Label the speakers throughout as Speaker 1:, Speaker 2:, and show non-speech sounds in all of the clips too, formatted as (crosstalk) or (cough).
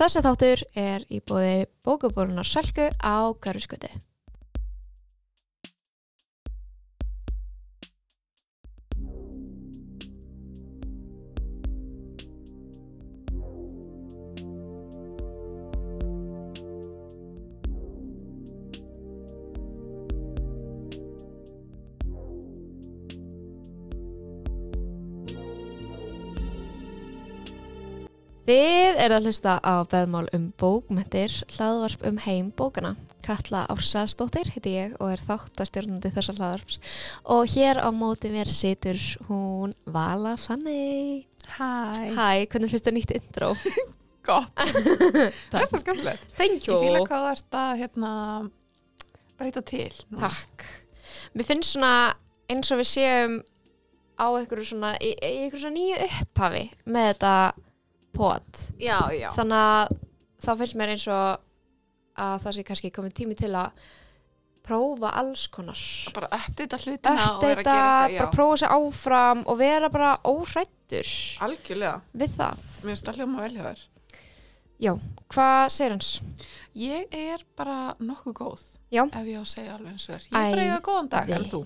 Speaker 1: Þessi þáttur er í bóði bókabórunar Sölku á Garfiskutu. Þið er að hlusta á beðmál um bókmyndir, hlaðvarp um heim bókana. Katla Ársastóttir heiti ég og er þáttastjórnandi þessa hlaðvarps. Og hér á móti mér situr hún Vala Fanny.
Speaker 2: Hæ,
Speaker 1: Hæ, hvernig finnst þér nýtt intro? (laughs)
Speaker 2: gott, það er það skemmtilegt.
Speaker 1: Thank
Speaker 2: Ég fíla hvað þú ert að hérna, breyta til. núna.
Speaker 1: Takk. Mér finnst svona eins og við séum á einhverju svona, í, í einhverju svona nýju upphafi með þetta pot.
Speaker 2: Já, já.
Speaker 1: Þannig að þá finnst mér eins og að það sé kannski komið tími til að prófa alls konar.
Speaker 2: Bara uppdita hlutina og vera að
Speaker 1: Uppdata,
Speaker 2: gera eitthvað, já.
Speaker 1: bara prófa sér áfram og vera bara óhrættur
Speaker 2: Algjörlega,
Speaker 1: við það.
Speaker 2: mér finnst allir um að velja þér.
Speaker 1: Já, hvað segir hans?
Speaker 2: Ég er bara nokkuð góð,
Speaker 1: Já.
Speaker 2: ef ég á að segja alveg eins og þér. Ég
Speaker 1: Æ,
Speaker 2: er bara eiga góðan dag,
Speaker 1: við.
Speaker 2: en þú?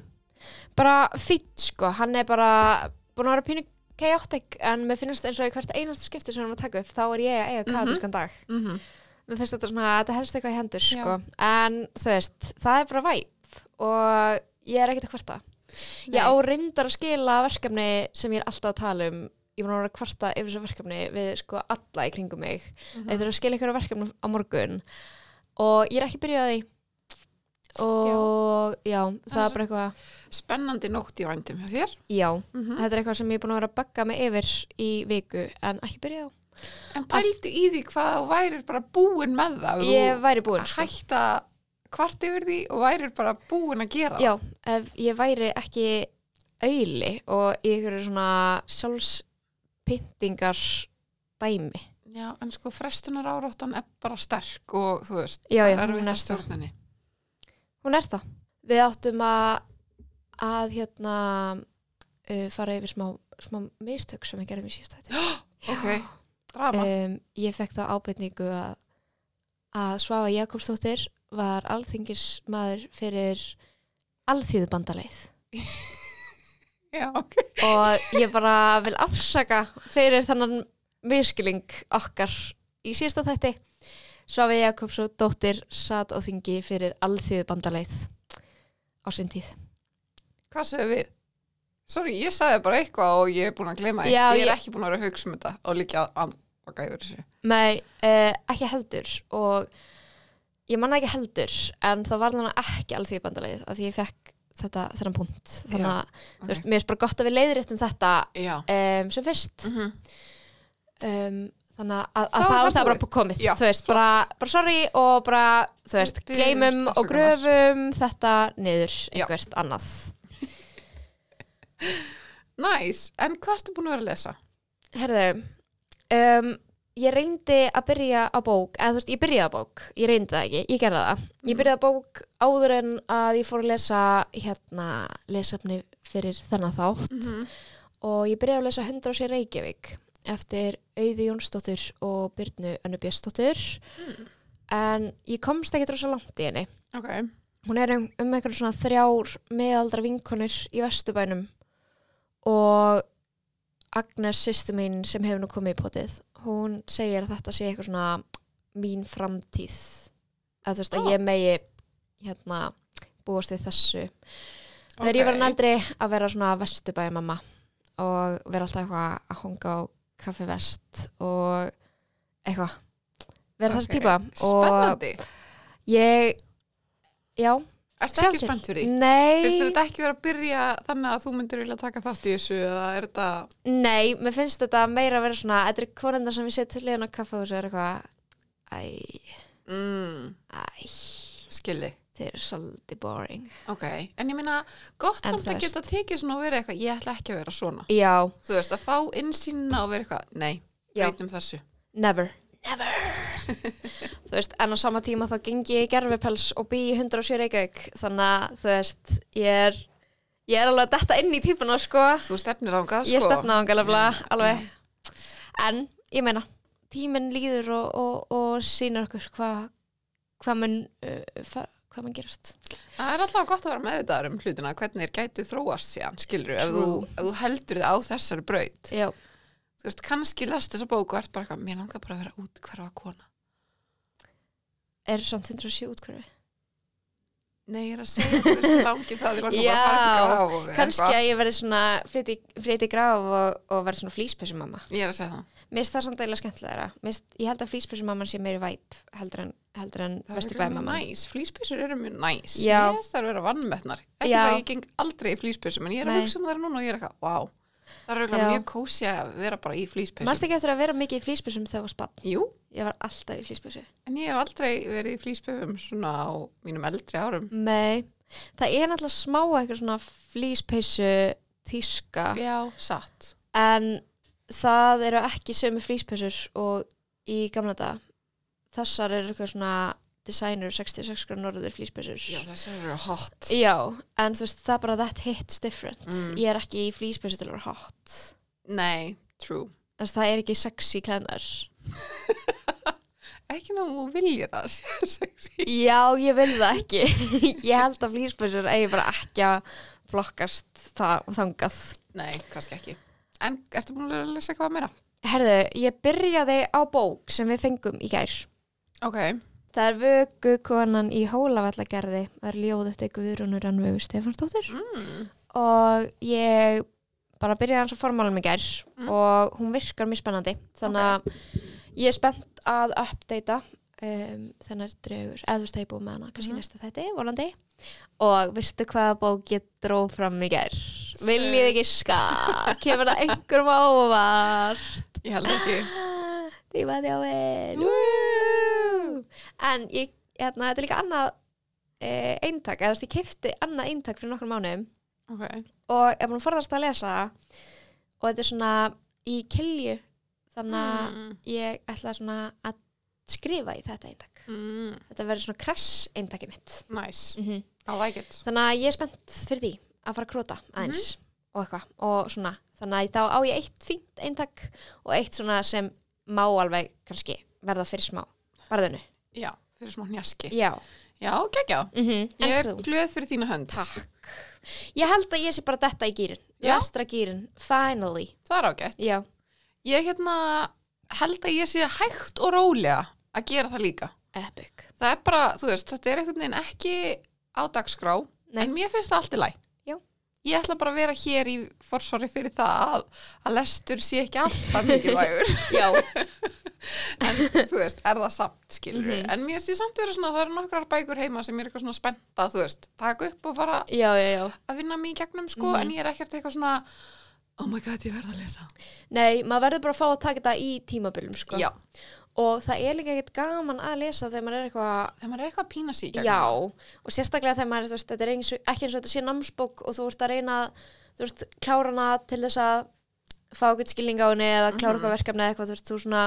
Speaker 1: bara fýtt sko, hann er bara búin að vera pínu chaotic en mér finnst eins og í hvert einasta skipti sem hann var að taka upp þá er ég að
Speaker 2: Mhm.
Speaker 1: eiga kaotískan dag
Speaker 2: Mm -hmm.
Speaker 1: mér finnst þetta svona, þetta helst eitthvað í hendur sko en þú veist, það er bara væp og ég er ekkert að kvarta ég á reyndar að skila verkefni sem ég er alltaf að tala um ég var að vera að kvarta yfir þessu verkefni við sko alla í kringum mig
Speaker 2: Mhm.
Speaker 1: þetta er að skila einhverja verkefni á morgun og ég er ekki byrjuð að því og já, það
Speaker 2: Það
Speaker 1: er bara
Speaker 2: er-
Speaker 1: eitthvað
Speaker 2: Spennandi nótt í vandum hjá þér.
Speaker 1: já,
Speaker 2: Mm -hmm.
Speaker 1: Þetta er eitthvað sem ég er búin að vera að bagga mig yfir í viku en ekki byrja á.
Speaker 2: En pældu í því hvað þú værir bara búin með það. ef
Speaker 1: Ég væri búin,
Speaker 2: Þú
Speaker 1: sko.
Speaker 2: hætta kvart yfir því og værir bara búin að gera það.
Speaker 1: Já, ef ég væri ekki auðli og í einhverju svona sjálfspyntingar dæmi.
Speaker 2: Já, en sko frestunar áráttan er bara sterk og þú veist,
Speaker 1: Já, já,
Speaker 2: það er
Speaker 1: hún
Speaker 2: við
Speaker 1: er
Speaker 2: að
Speaker 1: það.
Speaker 2: stjórnani.
Speaker 1: Hún er það. Við áttum að, að hérna uh, fara yfir smá, smá mistök sem ég gerði mér síðast þetta.
Speaker 2: Ok, drama.
Speaker 1: Um, ég fekk þá ábyrningu að, að Svava Jakobsdóttir var alþingismaður fyrir alþýðubandaleið. Eh,
Speaker 2: já, ok.
Speaker 1: og ég bara vil afsaka fyrir þannan miskiling okkar í síðasta þætti Svafi Jakobs og dóttir satt á þingi fyrir alþýðu bandaleið á sinn tíð
Speaker 2: Hvað segir við? Sorry, ég sagði bara eitthvað og ég er búin að glema
Speaker 1: Já,
Speaker 2: eitthvað. Ég
Speaker 1: ég-
Speaker 2: er ekki búin að vera að hugsa um þetta og líka að andvaka yfir þessu.
Speaker 1: Nei, uh, ekki heldur og ég manna ekki heldur en það var þannig ekki alþýðu bandaleið af því ég fekk þetta, þennan punkt þannig að, þú veist, mér er bara gott að við leiðréttum þetta
Speaker 2: Já.
Speaker 1: um, sem fyrst
Speaker 2: Mm -hmm.
Speaker 1: um, þannig að,
Speaker 2: Þá
Speaker 1: að
Speaker 2: er
Speaker 1: það
Speaker 2: það
Speaker 1: var það bara
Speaker 2: búið.
Speaker 1: komið
Speaker 2: Já,
Speaker 1: þú veist, bara, bara sorry og bara þú veist,
Speaker 2: Við biðjumst
Speaker 1: gleymum og
Speaker 2: afsökunar.
Speaker 1: gröfum þetta niður
Speaker 2: Já.
Speaker 1: einhvert annað
Speaker 2: Nice, en hvað ertu búin að vera að lesa?
Speaker 1: Herðu, um, ég reyndi að byrja á bók eða þú veist, ég byrjaði á bók, ég reyndi það ekki ég gerði það, ég byrjaði á bók áður en að ég fór að lesa hérna, lesafni fyrir þennan þátt
Speaker 2: Mhm.
Speaker 1: og ég byrjaði að lesa 100 á sér Reykjavík eftir Auði Jónsdóttir og Byrnu Önnu Björnsdóttir en ég komst ekkert rosa langt í henni
Speaker 2: Ok.
Speaker 1: hún er um, um einhverjum svona þrjár meðaldra vinkonir í Vesturbænum og Agnes sýstu mín sem hefur nú komið í potið hún segir að þetta sé eitthvað svona mín framtíð að þú veist að
Speaker 2: Ó.
Speaker 1: ég megi hérna búast við þessu Þegar ég var
Speaker 2: Ok.
Speaker 1: naldri að vera svona vesturbæði mamma og vera alltaf eitthvað að honga á kaffi vest og eitthvað vera þessi
Speaker 2: Ok.
Speaker 1: típa og
Speaker 2: Spennandi.
Speaker 1: ég já,
Speaker 2: Ertu
Speaker 1: sjá
Speaker 2: ekki
Speaker 1: til.
Speaker 2: spennt fyrir því? Fyrst
Speaker 1: Nei,
Speaker 2: þetta ekki vera að byrja þannig að þú myndir vilja taka þátt í þessu eða er þetta...
Speaker 1: nei, mér finnst þetta meira að vera svona, þetta er konendar sem ég sé til liðan á kaffi og svo er eitthvað æ,
Speaker 2: Mm,
Speaker 1: æ,
Speaker 2: skilði.
Speaker 1: þeir eru svolítið boring
Speaker 2: Ok, en ég meina, gott
Speaker 1: En
Speaker 2: samt
Speaker 1: þú
Speaker 2: að
Speaker 1: veist-
Speaker 2: geta tekið svona og verið eitthvað, ég ætla ekki að vera svona.
Speaker 1: Já,
Speaker 2: Þú veist, að fá innsýnina og verið eitthvað, nei,
Speaker 1: Já.
Speaker 2: veitum þessu.
Speaker 1: Never
Speaker 2: (laughs)
Speaker 1: Þú veist, en á sama tíma þá gengi ég í gerfipels og bý í 107 Reykjavík þannig að þú veist, ég er ég er alveg að detta inn í típuna sko,
Speaker 2: Þú stefnir ángað, sko.
Speaker 1: ég stefna á galabla alveg, en ég meina tíminn líður og, og, og sýnir okkur hvað hva mann uh, hva mann gerast
Speaker 2: Það er alltaf gott að vera meðvitaður um hlutina hvernig þeir gætu þróast síðan, skilur ef þú,
Speaker 1: True.
Speaker 2: ef þú heldur þið á þessari braut
Speaker 1: Já,
Speaker 2: þú veist, kannski lest þessa bók og ert bara eitthvað, mér langar bara að vera út hverfa kona
Speaker 1: er samt 107 útkvörfi
Speaker 2: Nei, ég er að segja, þú veist, (laughs) langi það þið langar bara að
Speaker 1: Já,
Speaker 2: fara graf og
Speaker 1: Kannski að ég verði svona flytti flytti í graf og, og verði svona flýspesum mamma
Speaker 2: Ég er að segja það,
Speaker 1: Mér finnst það samt eila skemmtilegra Mér finnst- Ég held að flýspesum mamman sé meiri væp heldur en, heldur en
Speaker 2: það er mjög
Speaker 1: vesturbæmamman
Speaker 2: næs Flýspysur eru mjög næs,
Speaker 1: Já.
Speaker 2: ég veist það er að vera vannmettnar ekki
Speaker 1: Já.
Speaker 2: það að ég geng aldrei í flýspysum en ég er að
Speaker 1: Nei.
Speaker 2: hugsa um það núna og ég er eitthvað, vá það eru
Speaker 1: Já.
Speaker 2: eitthvað mjög kósi að vera bara í
Speaker 1: Manst
Speaker 2: flýspysum
Speaker 1: ekki eftir að vera mikið í flýspesum þegar það var spann
Speaker 2: Jú,
Speaker 1: Ég var alltaf í flýspesu
Speaker 2: en ég hef aldrei verið í flýspysum svona á mínum eldri árum
Speaker 1: Nei, það er náttúrulega smá eitthvað svona flýspeysu tíska
Speaker 2: Já, satt
Speaker 1: en það eru ekki sömu flýspeysur og í gamla dag þessar eru eitthvað svona designer 66 grann norður flýspeysur
Speaker 2: Já, þessar eru hot
Speaker 1: en þú veist það er bara that hits different
Speaker 2: Mm.
Speaker 1: ég er ekki í flýspeysu til að vera hot
Speaker 2: Nei, true
Speaker 1: þess það er ekki sexy
Speaker 2: (laughs)
Speaker 1: klæðnar
Speaker 2: Ekki ná, þú viljir það (laughs) sé sexy.
Speaker 1: já ég vil það ekki (laughs) ég held að flýspeysur eigi bara ekki að flokkast það, þangað
Speaker 2: Nei, kannski ekki En ertu búin að lesa eitthvað meira?
Speaker 1: Herðu, ég byrjaði á bók sem við fengum í gær.
Speaker 2: Ok
Speaker 1: Það er Vögu konan í Hólavallagerði. Það er ljóð eftir Guðrúnur Rannvögu Stefansdóttir.
Speaker 2: mm.
Speaker 1: Og ég bara byrjaði hans á formálum í gær
Speaker 2: Mm.
Speaker 1: og hún virkar mjög spennandi. Þannig að ég er spennt að uppdata um, þennar draugur. Eða þú veist að ég er búið með hana kannski
Speaker 2: Mhm.
Speaker 1: mm. næsta þætti, volandi. Og veistu hvaða bók ég dró fram í gær? Viljið ekki ska? Kemur það einhverjum á óvart?
Speaker 2: Ég held ekki
Speaker 1: (laughs) Tíma þjóðin En ég, hérna, þetta er líka annað e, eintak, eða þú veist, ég kefti annað eintak fyrir nokkrum mánuðum
Speaker 2: Ok
Speaker 1: og ég er búin að forðast að lesa það og þetta er svona í kilju þannig að
Speaker 2: mm.
Speaker 1: ég ætla svona að skrifa í þetta eintak
Speaker 2: Mm.
Speaker 1: Þetta verður svona crash eintaki mitt
Speaker 2: Nice,
Speaker 1: mm
Speaker 2: I like it
Speaker 1: Þannig að ég er spennt fyrir því að fara að króta aðeins og eitthvað og svona þannig að þá á ég eitt fínt eintak og eitt svona sem má alveg kannski verða fyrir smá barðinu.
Speaker 2: Já, fyrir smá njaski
Speaker 1: Já.
Speaker 2: Já, geggjá
Speaker 1: Mm
Speaker 2: Ég er
Speaker 1: En þú?
Speaker 2: glöð fyrir þína hönd
Speaker 1: Takk. Ég held að ég sé bara detta í gýrin.
Speaker 2: Já.
Speaker 1: Lastra gýrin. Finally.
Speaker 2: Það er ágætt
Speaker 1: Já.
Speaker 2: Ég hérna held að ég sé hægt og rólega að gera það líka
Speaker 1: Epic.
Speaker 2: Það er bara, þú veist, þetta er einhvern veginn ekki á dagskrá
Speaker 1: Nei.
Speaker 2: En mér finnst það allt í læg
Speaker 1: Já.
Speaker 2: Ég ætla bara að vera hér í forsvari fyrir það að, að lestur sé ekki alltaf mikilvægur
Speaker 1: (laughs) Já.
Speaker 2: en þú veist, er það samt skilur
Speaker 1: Mhm.
Speaker 2: en mér finnst ég samt vera svona það eru nokkrar bækur heima sem ég er eitthvað svona spennt að þú veist, taka upp og fara
Speaker 1: já, já, já.
Speaker 2: að vinna mig í gegnum sko
Speaker 1: Mhm.
Speaker 2: en ég er ekkert eitthvað svona oh my god, ég verð að lesa
Speaker 1: Nei, maður verður bara að fá að taka þetta í tímabilum, sko.
Speaker 2: Já,
Speaker 1: Og það er líka ekkert gaman að lesa þegar maður er eitthvað
Speaker 2: þegar maður er eitthvað að pína sig í gegnum
Speaker 1: Já, og sérstaklega þegar maður, þú veist, þetta er eins, ekki eins og þetta sé námsbók og þú ert að reyna, að, þú veist, klára hana til þess að fá eitthvað skilning á henni eða klára
Speaker 2: Mhm.
Speaker 1: eitthvað verkefni eða eitthvað, þú veist, þú svona,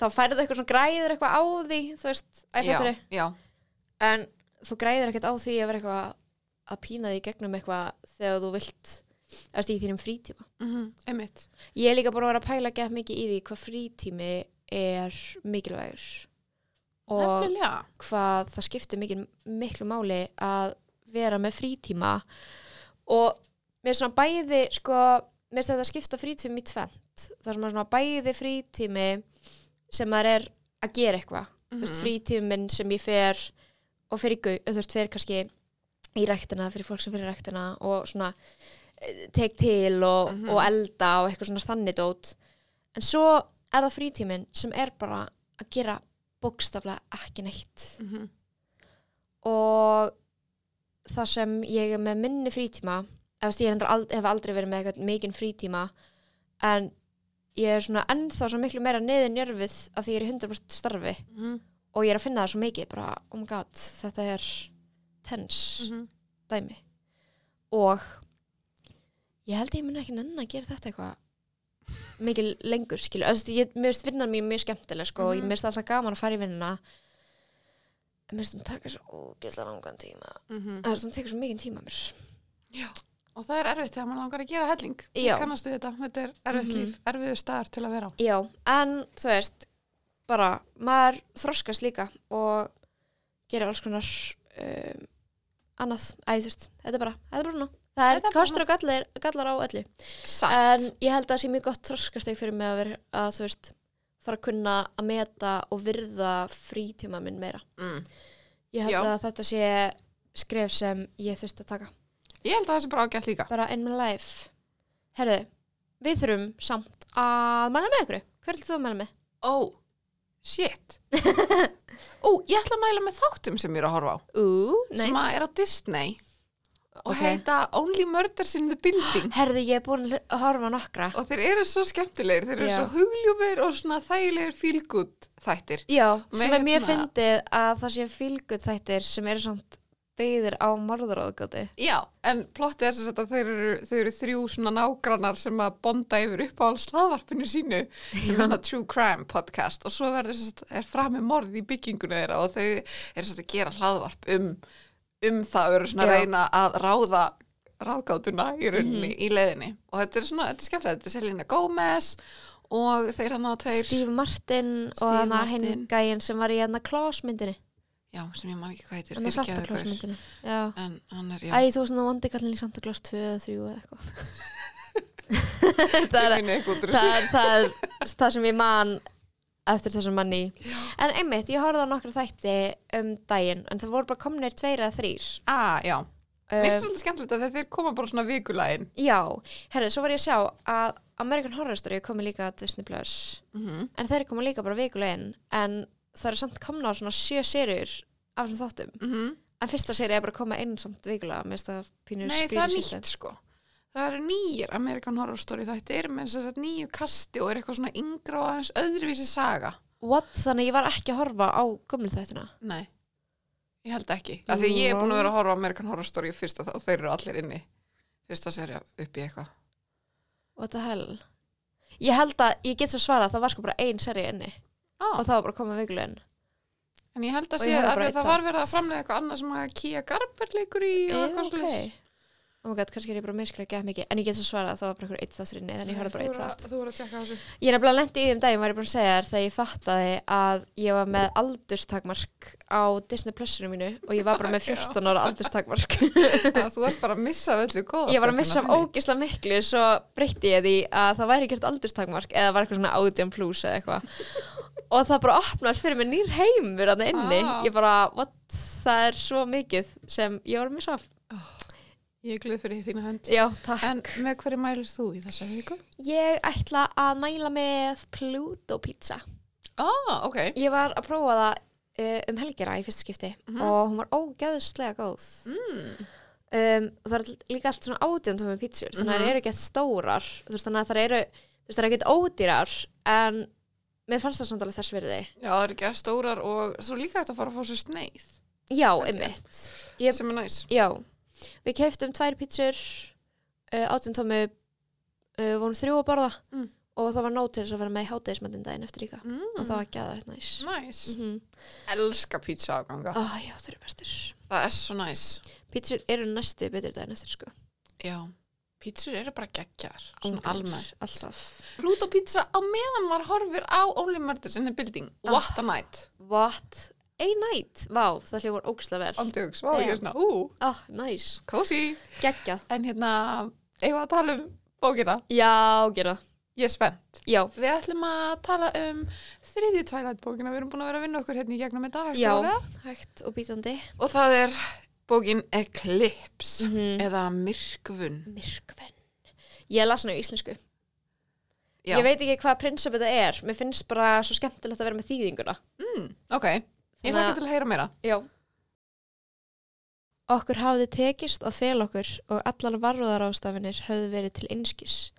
Speaker 1: þá færðu eitthvað svona græður eitthvað á því, þú veist, æfatri,
Speaker 2: já, já,
Speaker 1: en þú græður ekkert á því að vera eitthvað að pína því gegnum eitthvað þegar þú vilt, þú veist, í þínum frítíma.
Speaker 2: mhm, einmitt
Speaker 1: Ég er líka búin að vera að pæla gett mikið í því hvað frítími er mikilvægur og
Speaker 2: Nefnilega,
Speaker 1: hvað það skiptir mikil, miklu máli að vera með frítíma og mér er svona bæði sko, mér finnst þetta skipta frítími í tvent, það er svona bæði frítími sem maður er að gera eitthvað, þú veist
Speaker 2: Mhm.
Speaker 1: frítímin sem ég fer og fer í gau, þú veist fer kannski í ræktina fyrir fólk sem fer í ræktina og svona eh, tek til og,
Speaker 2: Mhm.
Speaker 1: og elda og eitthvað svona þannig dót en svo er það frítímin sem er bara að gera bókstaflega ekki neitt
Speaker 2: mhm,
Speaker 1: og það sem ég er með minni frítíma eða þú veist, ég ald, hef aldrei verið með eitthvað mikinn frítíma en ég er svona ennþá svo miklu meira niður njörfið af því ég er í 100% starfi
Speaker 2: mhm,
Speaker 1: og ég er að finna það svo mikið bara, oh my god, þetta er tense
Speaker 2: mhm.
Speaker 1: dæmi og ég held að ég mun ekki nenn að gera þetta eitthvað mikið lengur skilu, Eða, þú veist, ég, mér finnst vinnan mér mjög skemmtileg sko, og ég
Speaker 2: Mhm.
Speaker 1: mér finnst alltaf gaman að fara í vinnuna en mér finnst hún taka svo ógeðslega langan tíma
Speaker 2: mhm.
Speaker 1: það er svona tekur svo mikið tíma mér
Speaker 2: Já. og það er erfitt þegar maður langar að gera helling
Speaker 1: Já.
Speaker 2: ég kannastu þetta, þetta er erfitt
Speaker 1: Mhm.
Speaker 2: líf erfiðu staðar til að vera á
Speaker 1: Já, en þú veist, bara maður þroskast líka og gerir alls konar um, annað, æ, þú veist, þetta er bara, þetta er bara svona. Það
Speaker 2: Þetta
Speaker 1: er
Speaker 2: er bara
Speaker 1: kostur og gallar, gallar á öllu.
Speaker 2: Satt.
Speaker 1: En ég held að það sé mjög gott þroskasteg fyrir mig að vera að, þú veist, fara að kunna að meta og virða frítíma minn meira.
Speaker 2: mm.
Speaker 1: Ég held
Speaker 2: Já.
Speaker 1: að þetta sé skref sem ég þurfti að taka.
Speaker 2: ég held að það sé bara ágætt líka
Speaker 1: Bara in my life. Herðu, við þurfum samt að mæla með ykkur. Hver er þú að mæla með?
Speaker 2: ó, oh,
Speaker 1: (laughs)
Speaker 2: shit ó, ég ætla að mæla með þáttum sem ég er að horfa á
Speaker 1: Ú, nice.
Speaker 2: sem að er á Disney og
Speaker 1: Ok.
Speaker 2: heita Only Murders in the Building
Speaker 1: Herði, ég er búin að hl- horfa á nokkra.
Speaker 2: og þeir eru svo skemmtilegir, þeir eru
Speaker 1: Já.
Speaker 2: svo hugljúfir og svona þægilegir fílgút þættir
Speaker 1: Já,
Speaker 2: Með
Speaker 1: sem er mjög
Speaker 2: hérna-
Speaker 1: fyndið að það sé fylgut þættir sem eru samt byggðir á morðaráðgöti.
Speaker 2: já, en plottið er sem sagt að þeir eru, þeir eru þrjú svona nágrannar sem að bonda yfir upp á alls hlaðvarpinu sínu sem er svona true crime podcast og svo verður sem sagt, er framið morð í byggingunni þeirra og þau eru sem sagt að gera hlaðvarp um, um það og eru svona
Speaker 1: Já.
Speaker 2: að
Speaker 1: Mhm.
Speaker 2: reyna að ráða ráðgátuna í rauninni í leiðinni og þetta er svona, þetta er skemmtilegt, þetta er Selina Gómez og þeir hann að tveir
Speaker 1: Steve Martin og
Speaker 2: Steve
Speaker 1: hann að
Speaker 2: Martin.
Speaker 1: hinn gæinn sem var í hérna klásmyndinni.
Speaker 2: já, sem ég man ekki hvað heitir,
Speaker 1: Hann að Santa
Speaker 2: fyrirgefðu ykkur.
Speaker 1: Claus-myndinni. Já.
Speaker 2: en hann er, já,
Speaker 1: Æ, þú veist svona vondi kallin í Santa Claus 2 eða 3 eða eitthvað. það
Speaker 2: ég
Speaker 1: er
Speaker 2: finni eitthvað út úr
Speaker 1: það,
Speaker 2: þessu
Speaker 1: er, það er það sem ég man eftir þessum manni en einmitt, ég horfði á nokkra þætti um daginn, en það voru bara komnir tveir eða þrýr
Speaker 2: ah, já, mér
Speaker 1: um,
Speaker 2: finnst þetta skemmtilegt að þeir koma bara svona vikulægin
Speaker 1: já, herru, svo var ég að sjá að American Horror Story komi líka á Disney Plus,
Speaker 2: mm -hmm.
Speaker 1: en þeir komi líka bara vikulegin, en það eru samt komna á svona sjö serjur af þessum þáttum
Speaker 2: Mhm.
Speaker 1: en fyrsta serið er bara að koma inn samt vikulega, mér finnst það pínur
Speaker 2: nei, það er nýtt sko það eru nýjir American Horror Story þættir með þess að nýju kasti og er eitthvað svona yngra og aðeins öðruvísi saga
Speaker 1: what, þannig að ég var ekki að horfa á gömlu þættina
Speaker 2: nei, ég held ekki af því að ég er búin að vera að horfa á American Horror Story í fyrsta þá, þeir eru allir inni fyrsta serja upp í eitthvað
Speaker 1: What the hell? Ég held að, ég get svo svarað að það var sko bara ein seri inni og
Speaker 2: ah,
Speaker 1: það var bara að koma vikulegin.
Speaker 2: en ég held að
Speaker 1: Og
Speaker 2: sé
Speaker 1: ég horfði bara
Speaker 2: að því
Speaker 1: einn
Speaker 2: það var
Speaker 1: þátt.
Speaker 2: verið að framlega eitthvað annað sem að Kia Garber leikur í og eitthvað svoleiðis.
Speaker 1: Oh my god, kannski er ég bara miskla ekki að mikið, en ég get svo svarað að það var bara einhver eitt þáttur inni, þannig ég horfði bara
Speaker 2: Þú
Speaker 1: eitt
Speaker 2: voru að-
Speaker 1: þátt.
Speaker 2: Þú voru að tjekka á þessu.
Speaker 1: Ég er nefnilega lendi í því um daginn, var ég bara að segja þér, þegar ég fattaði að ég var með aldurstakmark á Disney Plus-inu mínu og ég var bara
Speaker 2: (laughs)
Speaker 1: með 14 ára aldurstakmark.
Speaker 2: að þú varst bara að missa af öllu góða
Speaker 1: ég var að missa af
Speaker 2: stelpuna, þannig.
Speaker 1: ógisla miklu svo breytti ég því að það væri gert aldurstakmark eða var eitthvað svona 18 plus eða eitthvað og það bara opnast fyrir mig nýr heimur að það inni
Speaker 2: Ah.
Speaker 1: ég bara, what, það er svo mikið sem ég var að missa af
Speaker 2: ég er glöð fyrir þínu hönd
Speaker 1: já, takk
Speaker 2: en með hverju mælir þú í þessa viku?
Speaker 1: ég ætla að mæla með Pluto pizza
Speaker 2: ah, ok
Speaker 1: ég var að prófa það uh, um helgina í fyrsta skipti
Speaker 2: Mhm.
Speaker 1: og hún var ógeðslega góð
Speaker 2: mm.
Speaker 1: um, og það er all- líka allt svona átjöndum með pítsur, þannig að
Speaker 2: Mhm.
Speaker 1: það eru ekki stórar þú veist, þannig að það eru þú veist, það eru ekki ódýrar en mér fannst það samt alveg þess virði
Speaker 2: já, það er ekki að stórar og svo líka þetta að fara að fá sér sneið
Speaker 1: já,
Speaker 2: Ok.
Speaker 1: einmitt, Ég-
Speaker 2: sem er næs
Speaker 1: já við keftum tvær pítsur uh, átjöndum uh, vorum þrjú að borða
Speaker 2: Mm.
Speaker 1: og það var nóg til þess að vera með í hátegismöndin daginn eftir líka
Speaker 2: mm.
Speaker 1: og það var ekki aðeins næs
Speaker 2: næs
Speaker 1: mm -hmm.
Speaker 2: elska pizza afganga
Speaker 1: ah, já, þeir eru bestir
Speaker 2: það er svo næs
Speaker 1: pítsur eru næstu betur daginn eftir sko
Speaker 2: já Pítsur eru bara geggjar, svona
Speaker 1: Ángríns,
Speaker 2: almennt.
Speaker 1: alltaf
Speaker 2: Pluto pizza á meðan maður horfir á Only Murders in the Building.
Speaker 1: Ah.
Speaker 2: What a night.
Speaker 1: what a night, vá, það hljóður ógislega vel
Speaker 2: Andjóks, vá, ég
Speaker 1: Já.
Speaker 2: er svona, ú,
Speaker 1: Ah, næs.
Speaker 2: cozy.
Speaker 1: Geggjað.
Speaker 2: En hérna, eigum við að tala um bókina?
Speaker 1: Já, gera.
Speaker 2: Ég er spennt.
Speaker 1: Já.
Speaker 2: Við ætlum að tala um þriðju Twilight bókina, við erum búin að vera að vinna okkur hérna í gegnum þetta hægt
Speaker 1: Já.
Speaker 2: og rólega.
Speaker 1: Hægt og býtandi.
Speaker 2: Og það er bókin Eclipse
Speaker 1: Mm.
Speaker 2: eða Myrkvun.
Speaker 1: Myrkvenn. Ég las hana í íslensku.
Speaker 2: Já,
Speaker 1: Ég veit ekki hvað prinsip þetta er. Mér finnst bara svo skemmtilegt að vera með þýðinguna.
Speaker 2: Mm, ok, ég
Speaker 1: Þannig
Speaker 2: hlaka
Speaker 1: að-
Speaker 2: til að heyra meira.
Speaker 1: Já. Okkur hafði tekist að fel okkur og allar varúðarástafinir höfðu verið til einskis.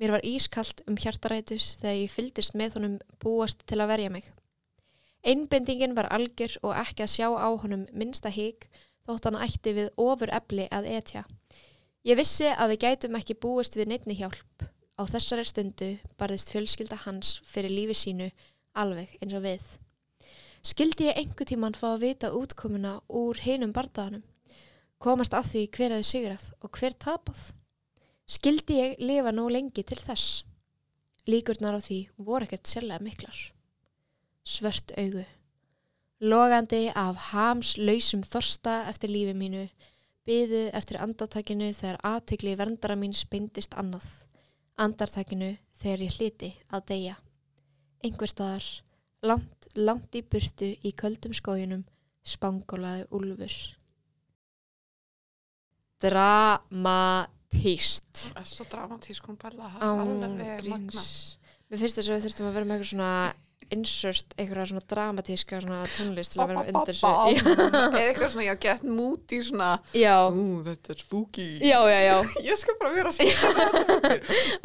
Speaker 1: Mér var ískalt um hjartarætus þegar ég fylgdist með honum búast til að verja mig. Einbendingin var algjör og ekki að sjá á honum minnsta hík þótt hann ætti við ofur ebli að etja. Ég vissi að við gætum ekki búist við neittni hjálp. Á þessari stundu barðist fjölskylda hans fyrir lífi sínu alveg eins og við. Skildi ég einhver tíman fá að vita útkomuna úr hinum bardaganum? Komast að því hver hefði sigrað og hver tapað? Skildi ég lifa nóg lengi til þess? Líkurnar á því voru ekkert sérlega miklar. Svört augu. Logandi af hamslausum þorsta eftir lífi mínu, byðu eftir andartakinu þegar aðtegli verndara mín speindist annað. Andartakinu þegar ég hliti að deyja. Einhver staðar, langt, langt í burtu í köldum skójunum, spangólaði úlfur. Dramatíst.
Speaker 2: Það er svo dramatísk hún Bella, það er
Speaker 1: Án
Speaker 2: alveg magna.
Speaker 1: gríns Mér finnst þess að við þurftum að vera með eitthvað svona insert, eitthvað svona dramatíska svona tónlist til að vera með undir sig Já,
Speaker 2: Eða eitthvað svona, (laughs) já, get múti svona,
Speaker 1: já,
Speaker 2: ú, þetta er spooky.
Speaker 1: já, já, já.
Speaker 2: (laughs) Ég skal bara vera svona. (laughs)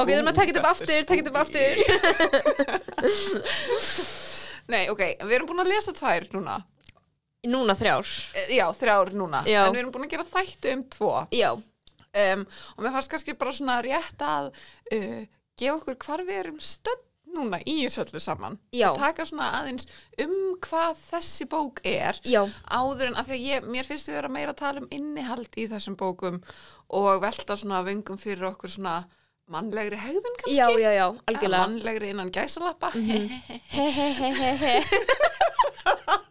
Speaker 1: Ok, þurfum að taka þetta upp aftur, taka þetta upp aftur
Speaker 2: (laughs) Nei, ok, við erum búin að lesa tvær núna.
Speaker 1: Núna þrjár
Speaker 2: Eh, Já, þrjár núna.
Speaker 1: Já.
Speaker 2: En við erum búin að gera þætti um tvo.
Speaker 1: Já,
Speaker 2: Um, og mér fannst kannski bara svona rétt að uh, gefa okkur hvar við erum stödd núna í þessu öllu saman.
Speaker 1: já,
Speaker 2: Taka svona aðeins um hvað þessi bók er.
Speaker 1: já,
Speaker 2: áður en að því að ég, mér finnst við vera meira að tala um innihald í þessum bókum og velta svona vöngum fyrir okkur svona mannlegri hegðun kannski
Speaker 1: já, já, já,
Speaker 2: Eða
Speaker 1: algjörlega Mhm.
Speaker 2: mannlegri innan gæsalappa
Speaker 1: He, he, he, he, he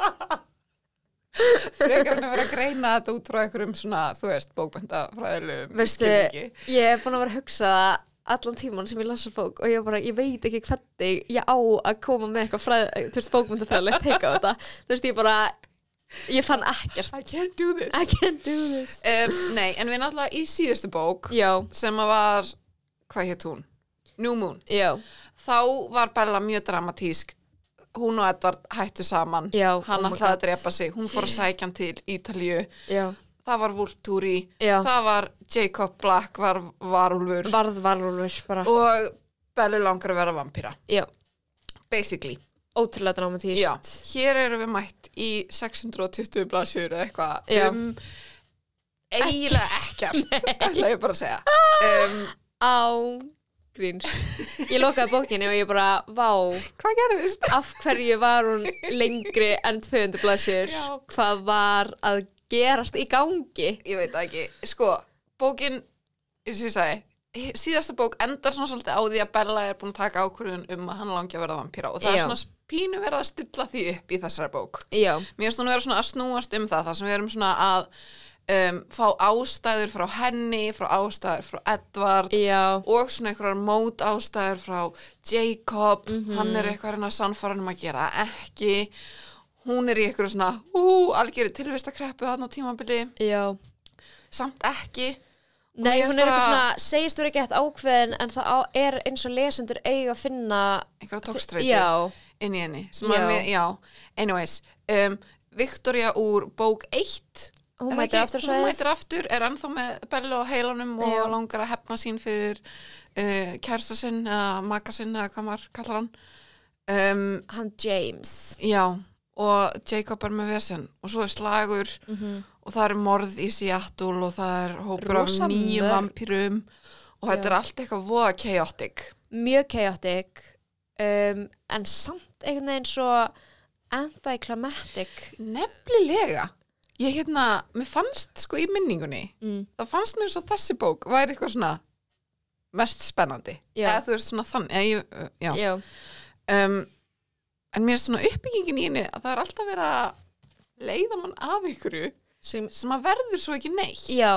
Speaker 2: frekar en að vera að greina þetta út frá einhverjum svona, þú veist, bókbendafræðilegum
Speaker 1: Veistu, ég er búin að vera að hugsa það allan tíman sem ég lasa bók og ég, bara, ég veit ekki hvernig ég á að koma með eitthvað fræð, þú veist, bókmyndafræðilegt teika á þetta, þú veist, ég bara ég fann ekkert
Speaker 2: I can't do this
Speaker 1: I can't do this
Speaker 2: um, Nei, en við náttúrulega í síðustu bók
Speaker 1: Já,
Speaker 2: sem að var, hvað hétt hún? New Moon
Speaker 1: já,
Speaker 2: þá var Bella mjög dramatísk hún og Edvard hættu saman
Speaker 1: Já, oh
Speaker 2: hann
Speaker 1: my
Speaker 2: ætlaði að
Speaker 1: God.
Speaker 2: drepa sig, hún fór að sækja hann til Ítalíu,
Speaker 1: já,
Speaker 2: það var Vultúri
Speaker 1: já
Speaker 2: það var Jacob Black var varulfur
Speaker 1: Varð varulfur bara
Speaker 2: og Bellu langar að vera vampíra
Speaker 1: Já,
Speaker 2: basically,
Speaker 1: ótrúlega
Speaker 2: já,
Speaker 1: dramatíst
Speaker 2: hér erum við mætt í 620 blaðsjur eða eitthvað
Speaker 1: Já.
Speaker 2: um eiginlega ekkert ætla ég bara að segja um,
Speaker 1: Á gríns Ég lokaði bókinni og ég bara Vá,
Speaker 2: hvað gerðist?
Speaker 1: af hverju var hún lengri en 200 blaðsjur
Speaker 2: Já.
Speaker 1: Hvað var að gerast í gangi
Speaker 2: ég veit það ekki sko, bókin eins og ég sagði, síðasta bók endar svona svolítið á því að Bella er búin að taka ákvörðun um að hann langi að verða vampíra og það
Speaker 1: Já.
Speaker 2: er svona pínu verið að stilla því upp í þessari bók
Speaker 1: Já,
Speaker 2: mér finnst hún vera svona að snúast um það þar sem við erum svona að um, fá ástæður frá henni frá ástæður frá Edvard
Speaker 1: já,
Speaker 2: og svona einhverjar mót ástæður frá Jacob, hann er eitthvað að reyna að sannfara hann um að gera það ekki hún er í eitthvað svona ú, algjöru tilvistakreppu þarna á tímabili
Speaker 1: já
Speaker 2: samt ekki
Speaker 1: Nei,
Speaker 2: mér
Speaker 1: hún
Speaker 2: finnst
Speaker 1: er eitthvað
Speaker 2: bara-
Speaker 1: svona, segist þú ekki eftir ákveðin en það á, er eins og lesendur eiga að finna
Speaker 2: einhverja tókstreitu
Speaker 1: Já,
Speaker 2: inn í henni sem já.
Speaker 1: Já.
Speaker 2: Mér, já, anyways um, Victoria úr bók 1
Speaker 1: hún
Speaker 2: Er það
Speaker 1: mætir
Speaker 2: ekki?
Speaker 1: aftur á
Speaker 2: hún
Speaker 1: svæðið.
Speaker 2: mætir aftur, er ennþá með bellu á heilanum og
Speaker 1: Já.
Speaker 2: langar að hefna sín fyrir uh, kærsta sinn eða maka sinn eða hvað maður kallar hann um,
Speaker 1: Hann James
Speaker 2: já og Jacob er með vesen og svo er slagur
Speaker 1: mm
Speaker 2: og það er morð í Seattle og það er hópur
Speaker 1: Rosa
Speaker 2: af nýjum
Speaker 1: mörg.
Speaker 2: vampýrum og þetta
Speaker 1: Já.
Speaker 2: er allt eitthvað voða chaotic
Speaker 1: mjög chaotic um, en samt einhvern veginn svo anticlimactic
Speaker 2: Nefnilega. Ég hérna, mér fannst sko í minningunni,
Speaker 1: mm.
Speaker 2: það fannst mér svo þessi bók væri eitthvað svona mest spennandi.
Speaker 1: Já.
Speaker 2: Eða þú veist svona þann, eða ég, uh, já.
Speaker 1: já,
Speaker 2: Um, en mér er svona uppbyggingin í henni að það er alltaf verið að leiða mann að ykkur
Speaker 1: sem
Speaker 2: sem að verður svo ekki neitt.
Speaker 1: Já.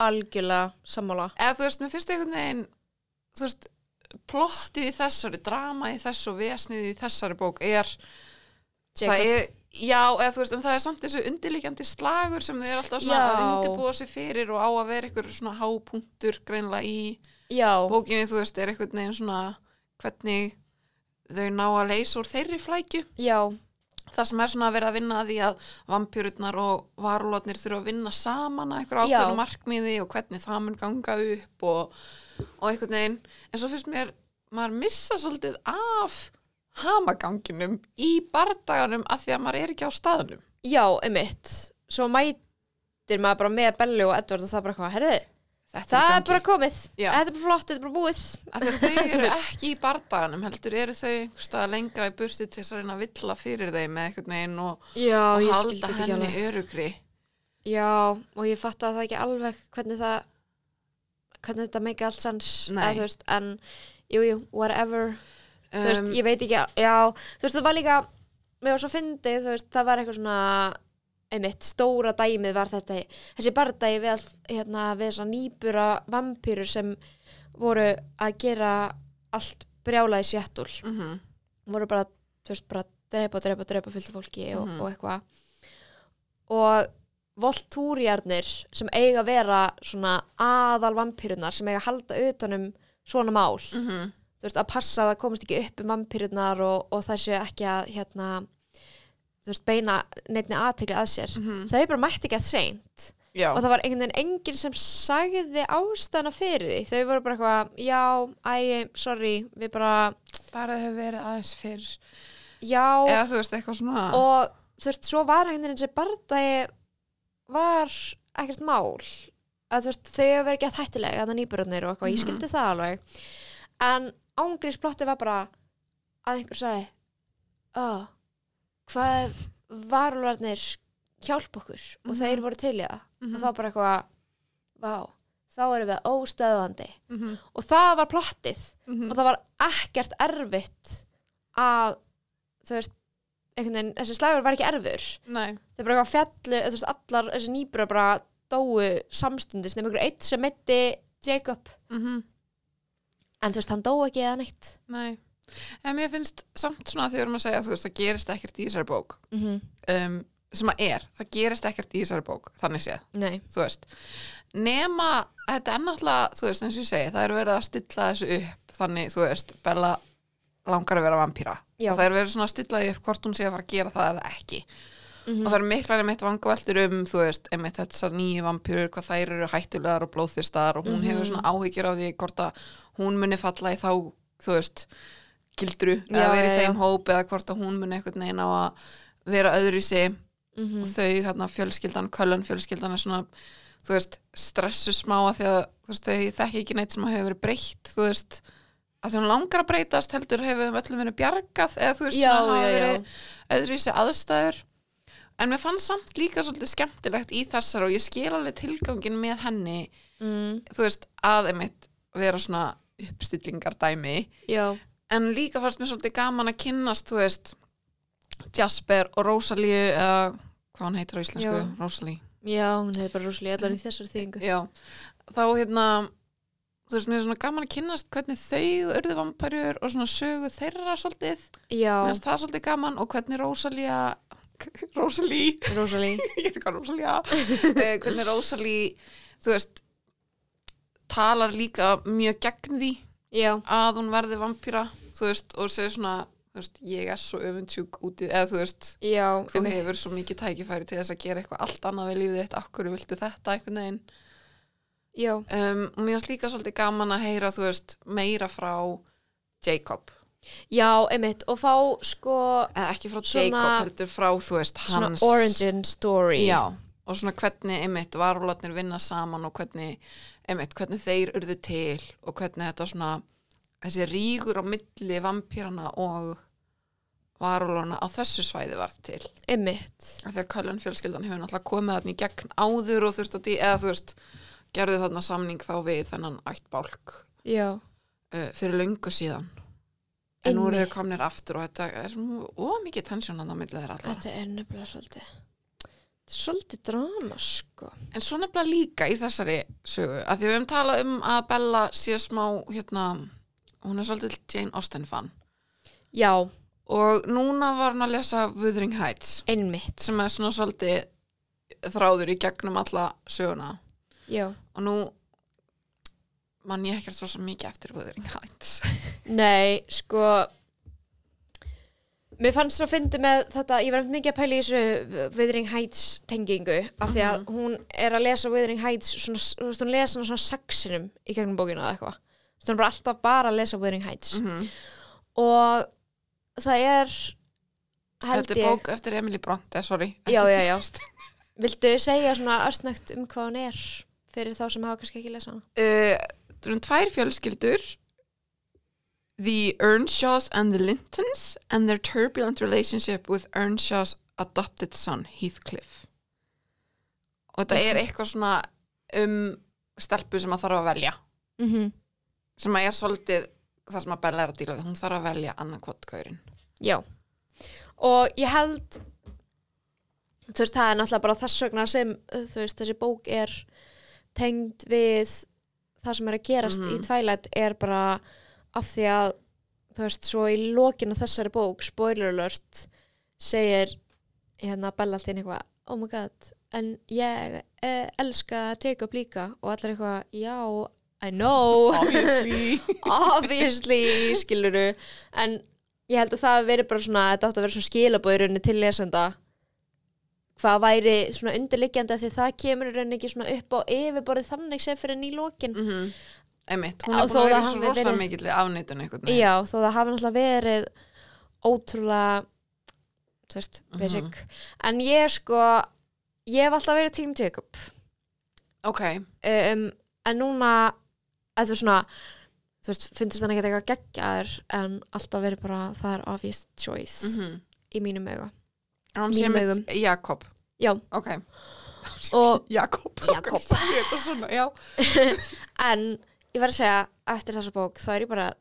Speaker 1: algjörlega sammála
Speaker 2: Eða þú veist, mér finnst einhvern veginn, þú veist, plottið í þessari, drama í þessu og vesnið í þessari bók er
Speaker 1: Jacob.
Speaker 2: það er, já, eða þú veist, en það er samt þessu undirlíkjandi slagur sem þau eru alltaf svona
Speaker 1: Já.
Speaker 2: að undirbúa sig fyrir og á að vera ykkur svona hápunktur greinlega í
Speaker 1: já,
Speaker 2: bókinni, þú veist, er einhvern veginn svona hvernig þau ná að leysa úr þeirri flækju.
Speaker 1: já,
Speaker 2: Það sem er svona að vera að vinna að því að vampjörurnar og varulotnir þurfa að vinna saman að ykkur
Speaker 1: Já.
Speaker 2: ákveðnu markmiði og hvernig það mun ganga upp og, og einhvern veginn. En svo finnst mér, maður missa svolítið af hamaganginum í bardaganum að því að maður er ekki á staðnum.
Speaker 1: já, einmitt svo mætir maður bara með Bellu og Edward og það er bara hvað, herðu
Speaker 2: Þetta
Speaker 1: það er
Speaker 2: í gangi.
Speaker 1: bara komið,
Speaker 2: Já.
Speaker 1: þetta er bara flott þetta er bara búið,
Speaker 2: Af
Speaker 1: (laughs)
Speaker 2: því að þau eru ekki í bardaganum, heldur eru þau einhverstað lengra í burtu til þess að reyna að villa fyrir þeim með einhvern veginn og,
Speaker 1: já,
Speaker 2: og
Speaker 1: ég skildi
Speaker 2: halda
Speaker 1: þetta ekki
Speaker 2: henni
Speaker 1: alveg
Speaker 2: örugri.
Speaker 1: já, og ég fatt að það ekki alveg hvernig það hvernig þetta make alls sens
Speaker 2: Nei.
Speaker 1: eða, þú veist, en jú, jú, whatever þú veist,
Speaker 2: Um,
Speaker 1: ég veit ekki, já þú veist, það var líka, mér var svo fyndið þú veist, það var eitthvað svona einmitt, stóra dæmið var þetta þessi bardagi við, all, hérna, við þessa nýbura vampýrur sem voru að gera allt brjálaði séttúl
Speaker 2: mhm,
Speaker 1: voru bara, þú veist, bara drepa, drepa, drepa fullt af fólki og,
Speaker 2: Mhm.
Speaker 1: og eitthvað og voltúrjarnir sem eiga að vera svona aðal vampýrunar sem eiga að halda utanum svona mál
Speaker 2: mhm,
Speaker 1: þú veist, að passa að það komast ekki upp um vampýrunar og, og það séu ekki að hérna, þú veist, beina neittni aðtekli að sér
Speaker 2: mhm.
Speaker 1: þau bara mætti ekki að seint
Speaker 2: Já,
Speaker 1: og það var einhvern veginn enginn sem sagði ástæðna fyrir því, þau voru bara eitthvað já, æ, sorry, við bara
Speaker 2: bara þau verið aðeins fyrr
Speaker 1: já,
Speaker 2: eða þú veist eitthvað svona
Speaker 1: og þú veist, svo var einhvern veginn sem bardagi var ekkert mál að þú veist, þau hefur verið gett hættilega þannig nýbörðnir og eitthvað, ég
Speaker 2: Mhm.
Speaker 1: skildi það alveg en ángriðsplotti var bara að einhver sagði ó, hvað ef varulvarnir hjálp okkur og
Speaker 2: Mhm.
Speaker 1: þeir voru til í það
Speaker 2: Mhm.
Speaker 1: og þá bara eitthvað, vá þá erum við óstöðvandi
Speaker 2: Mhm,
Speaker 1: og það var plottið
Speaker 2: mhm,
Speaker 1: og það var ekkert erfitt að þú veist einhvern veginn, þessi slagur var ekki erfur
Speaker 2: Nei,
Speaker 1: það er bara eitthvað fjallu, eða þú veist, allar þessi nýbura bara dóu samstundis nema einhver eitt sem meiti Jacob
Speaker 2: mhm,
Speaker 1: en þú veist, hann dóu ekki eða neitt
Speaker 2: nei En mér finnst samt svona að þau erum að segja þú veist, það gerist ekkert í þessari bók
Speaker 1: mm -hmm.
Speaker 2: um, sem að er, það gerist ekkert í þessari bók þannig séð,
Speaker 1: nei,
Speaker 2: þú veist nema, þetta er náttúrulega þú veist, eins og ég segi, það er verið að stilla þessu upp þannig, þú veist, Bella langar að vera vampíra
Speaker 1: Já.
Speaker 2: og það er verið svona að stilla því upp hvort hún sé að fara að gera það eða ekki
Speaker 1: Mhm.
Speaker 2: og það eru miklar einmitt vangaveltur um þú veist, einmitt þessar nýju vampýrur hvað þær eru hættulegar og blóðþyrstar og hún
Speaker 1: Mhm.
Speaker 2: hefur svona áhyggjur af því hvort að hún muni falla í þá, þú veist gildru,
Speaker 1: Já,
Speaker 2: eða verið í
Speaker 1: já,
Speaker 2: þeim hóp eða hvort að hún muni einhvern veginn á að vera öðru í sig
Speaker 1: mm
Speaker 2: og þau, hérna, fjölskyldan, köllan fjölskyldan er svona, þú veist stressu smá að því að þú veist, þau þekki ekki neitt sem hefur verið breytt, þú veist að því hún langar að breytast heldur hefur þeim öllum verið bjargað eða þú veist,
Speaker 1: já,
Speaker 2: svona hafa
Speaker 1: já, já,
Speaker 2: verið öðruvísi aðstæður en mér fannst samt líka svolítið skemmtilegt í þessar og ég skil alveg tilgangin með henni
Speaker 1: mm,
Speaker 2: þú veist, að einmitt vera svona uppstillingar dæmi
Speaker 1: já,
Speaker 2: en líka fannst mér svolítið gaman að kynnast þú veist, Jasper og Rosalíu eða hvað hann heitir á íslensku,
Speaker 1: Já.
Speaker 2: Rosalí
Speaker 1: já, hún hefði bara rosalega allar í þessar þýðingu
Speaker 2: Já, þá hérna þú veist, mér er svona gaman að kynnast hvernig þau urðu vampærur og svona sögu þeirra svolítið, mér
Speaker 1: já,
Speaker 2: finnst það svolítið gaman og hvernig (laughs) Rosalía Rosalí
Speaker 1: rosalega
Speaker 2: ég er
Speaker 1: (laughs)
Speaker 2: eitthvað Rósalía eh, hvernig Rósalí þú veist talar líka mjög gegn því
Speaker 1: já,
Speaker 2: að hún verði vampýra þú veist og segir svona þú veist, ég er svo öfundsjúk úti eða þú veist
Speaker 1: já,
Speaker 2: þú
Speaker 1: einmitt.
Speaker 2: hefur svo mikið tækifæri til þess að gera eitthvað allt annað við lífið þitt okkur viltu þetta einhvern veginn
Speaker 1: já,
Speaker 2: um, og mér finnst líka svolítið gaman að heyra þú veist meira frá Jacob
Speaker 1: já, einmitt og fá sko
Speaker 2: eða ekki frá
Speaker 1: Svona-
Speaker 2: Jacob heldur frá þú veist
Speaker 1: svona
Speaker 2: hans
Speaker 1: origin story
Speaker 2: Já, og svona hvernig einmitt varúlarnir vinna saman og hvernig einmitt, hvernig þeir urðu til og hvernig þetta svona þessi rígur á milli vampýrana og varúlarna á þessu svæði varð til
Speaker 1: einmitt
Speaker 2: af því að Köllan fjölskyldan hefur náttúrulega komið þarna í gegn áður og þurft að því eða þú veist, gerðu þarna samning þá við þennan ætt bálk
Speaker 1: já,
Speaker 2: uh, fyrir löngu síðan en nú eru
Speaker 1: Einmitt.
Speaker 2: þau komnir aftur og þetta er nú ómikið tensjón að það milli þeirra allar
Speaker 1: Þetta er nefnilega svolítið svolítið drama sko
Speaker 2: En svo nefnilega líka í þessari sögu að því við höfum talað um að Bella sé smá hérna, hún er svolítið Jane Austen fan
Speaker 1: Já,
Speaker 2: og núna var hún að lesa Wuthering Heights
Speaker 1: einmitt
Speaker 2: sem er svona svolítið þráður í gegnum alla söguna
Speaker 1: Já,
Speaker 2: og nú mann ég ekkert svo sem mikið eftir Wuthering Heights
Speaker 1: nei, sko Mér fannst svo fyndi með þetta, ég var einmitt mikið að pæla í þessu Wuthering Heights tengingu af því að hún er að lesa Wuthering Heights svona, þú veist, hún lesa hana svona sexinum í gegnum bókina eða eitthvað Þú veist, hún er bara alltaf bara að lesa Wuthering Heights
Speaker 2: mm -hmm.
Speaker 1: og það er held
Speaker 2: Þetta er
Speaker 1: ég
Speaker 2: bók eftir Emily Bronte, sorry ekki
Speaker 1: Já, já,
Speaker 2: Jane
Speaker 1: já.
Speaker 2: Austen.
Speaker 1: Viltu segja svona östnögt um hvað hún er fyrir þá sem hafa kannski ekki lesa hana?
Speaker 2: Uh, Það eru tvær fjölskyldur The Earnshaws and the Lintons and their turbulent relationship with Earnshaw's adopted son Heathcliff og þetta er eitthvað svona um stelpu sem að þarf að velja
Speaker 1: mm
Speaker 2: sem að er svolítið það sem að Bella er að díla við, hún þarf að velja annan kottgaurin
Speaker 1: Já. Og ég held, þú veist, það er náttúrulega bara þess vegna sem, þú veist, þessi bók er tengd við það sem er að gerast
Speaker 2: Mhm.
Speaker 1: í Twilight er bara af því að, þú veist, svo í lokinu þessari bók, spoiler alert, segir hérna Bella alltaf eitthvað, oh my god, en ég eh, elska að teka upp líka og allir eitthvað, já, I know.
Speaker 2: (laughs) obviously
Speaker 1: obviously, skiluru en ég held að það hafi verið bara svona þetta átti að vera svona skilabóð í rauninni til lesenda hvað væri svona undirliggjandi af því það kemur í rauninni ekki svona upp á yfirborðið þannig sem fyrir nýlókin
Speaker 2: mm -hmm. einmitt, hún
Speaker 1: Já,
Speaker 2: er búin
Speaker 1: þó
Speaker 2: að
Speaker 1: það
Speaker 2: vera svo
Speaker 1: hafi
Speaker 2: rosalega
Speaker 1: verið-
Speaker 2: verið... mikill afneitun einhvern veginn
Speaker 1: já, þó það hafi náttúrulega verið ótrúlega þú veist, basic en ég sko, ég hef alltaf verið Team Jacob
Speaker 2: ok,
Speaker 1: um, en núna eða þú veist svona þú veist, fundist hann ekkert eitthvað geggjaður en alltaf verið bara, það er obvious choice
Speaker 2: mm -hmm.
Speaker 1: í mínum auga
Speaker 2: hann
Speaker 1: Mhm. Mínum
Speaker 2: sé
Speaker 1: augum.
Speaker 2: mitt Jakob
Speaker 1: já,
Speaker 2: ok, (laughs)
Speaker 1: og
Speaker 2: Jakob
Speaker 1: Jakob.
Speaker 2: Ég sé þetta svona, já.
Speaker 1: en ég verð að segja, eftir þessa bók þá er ég bara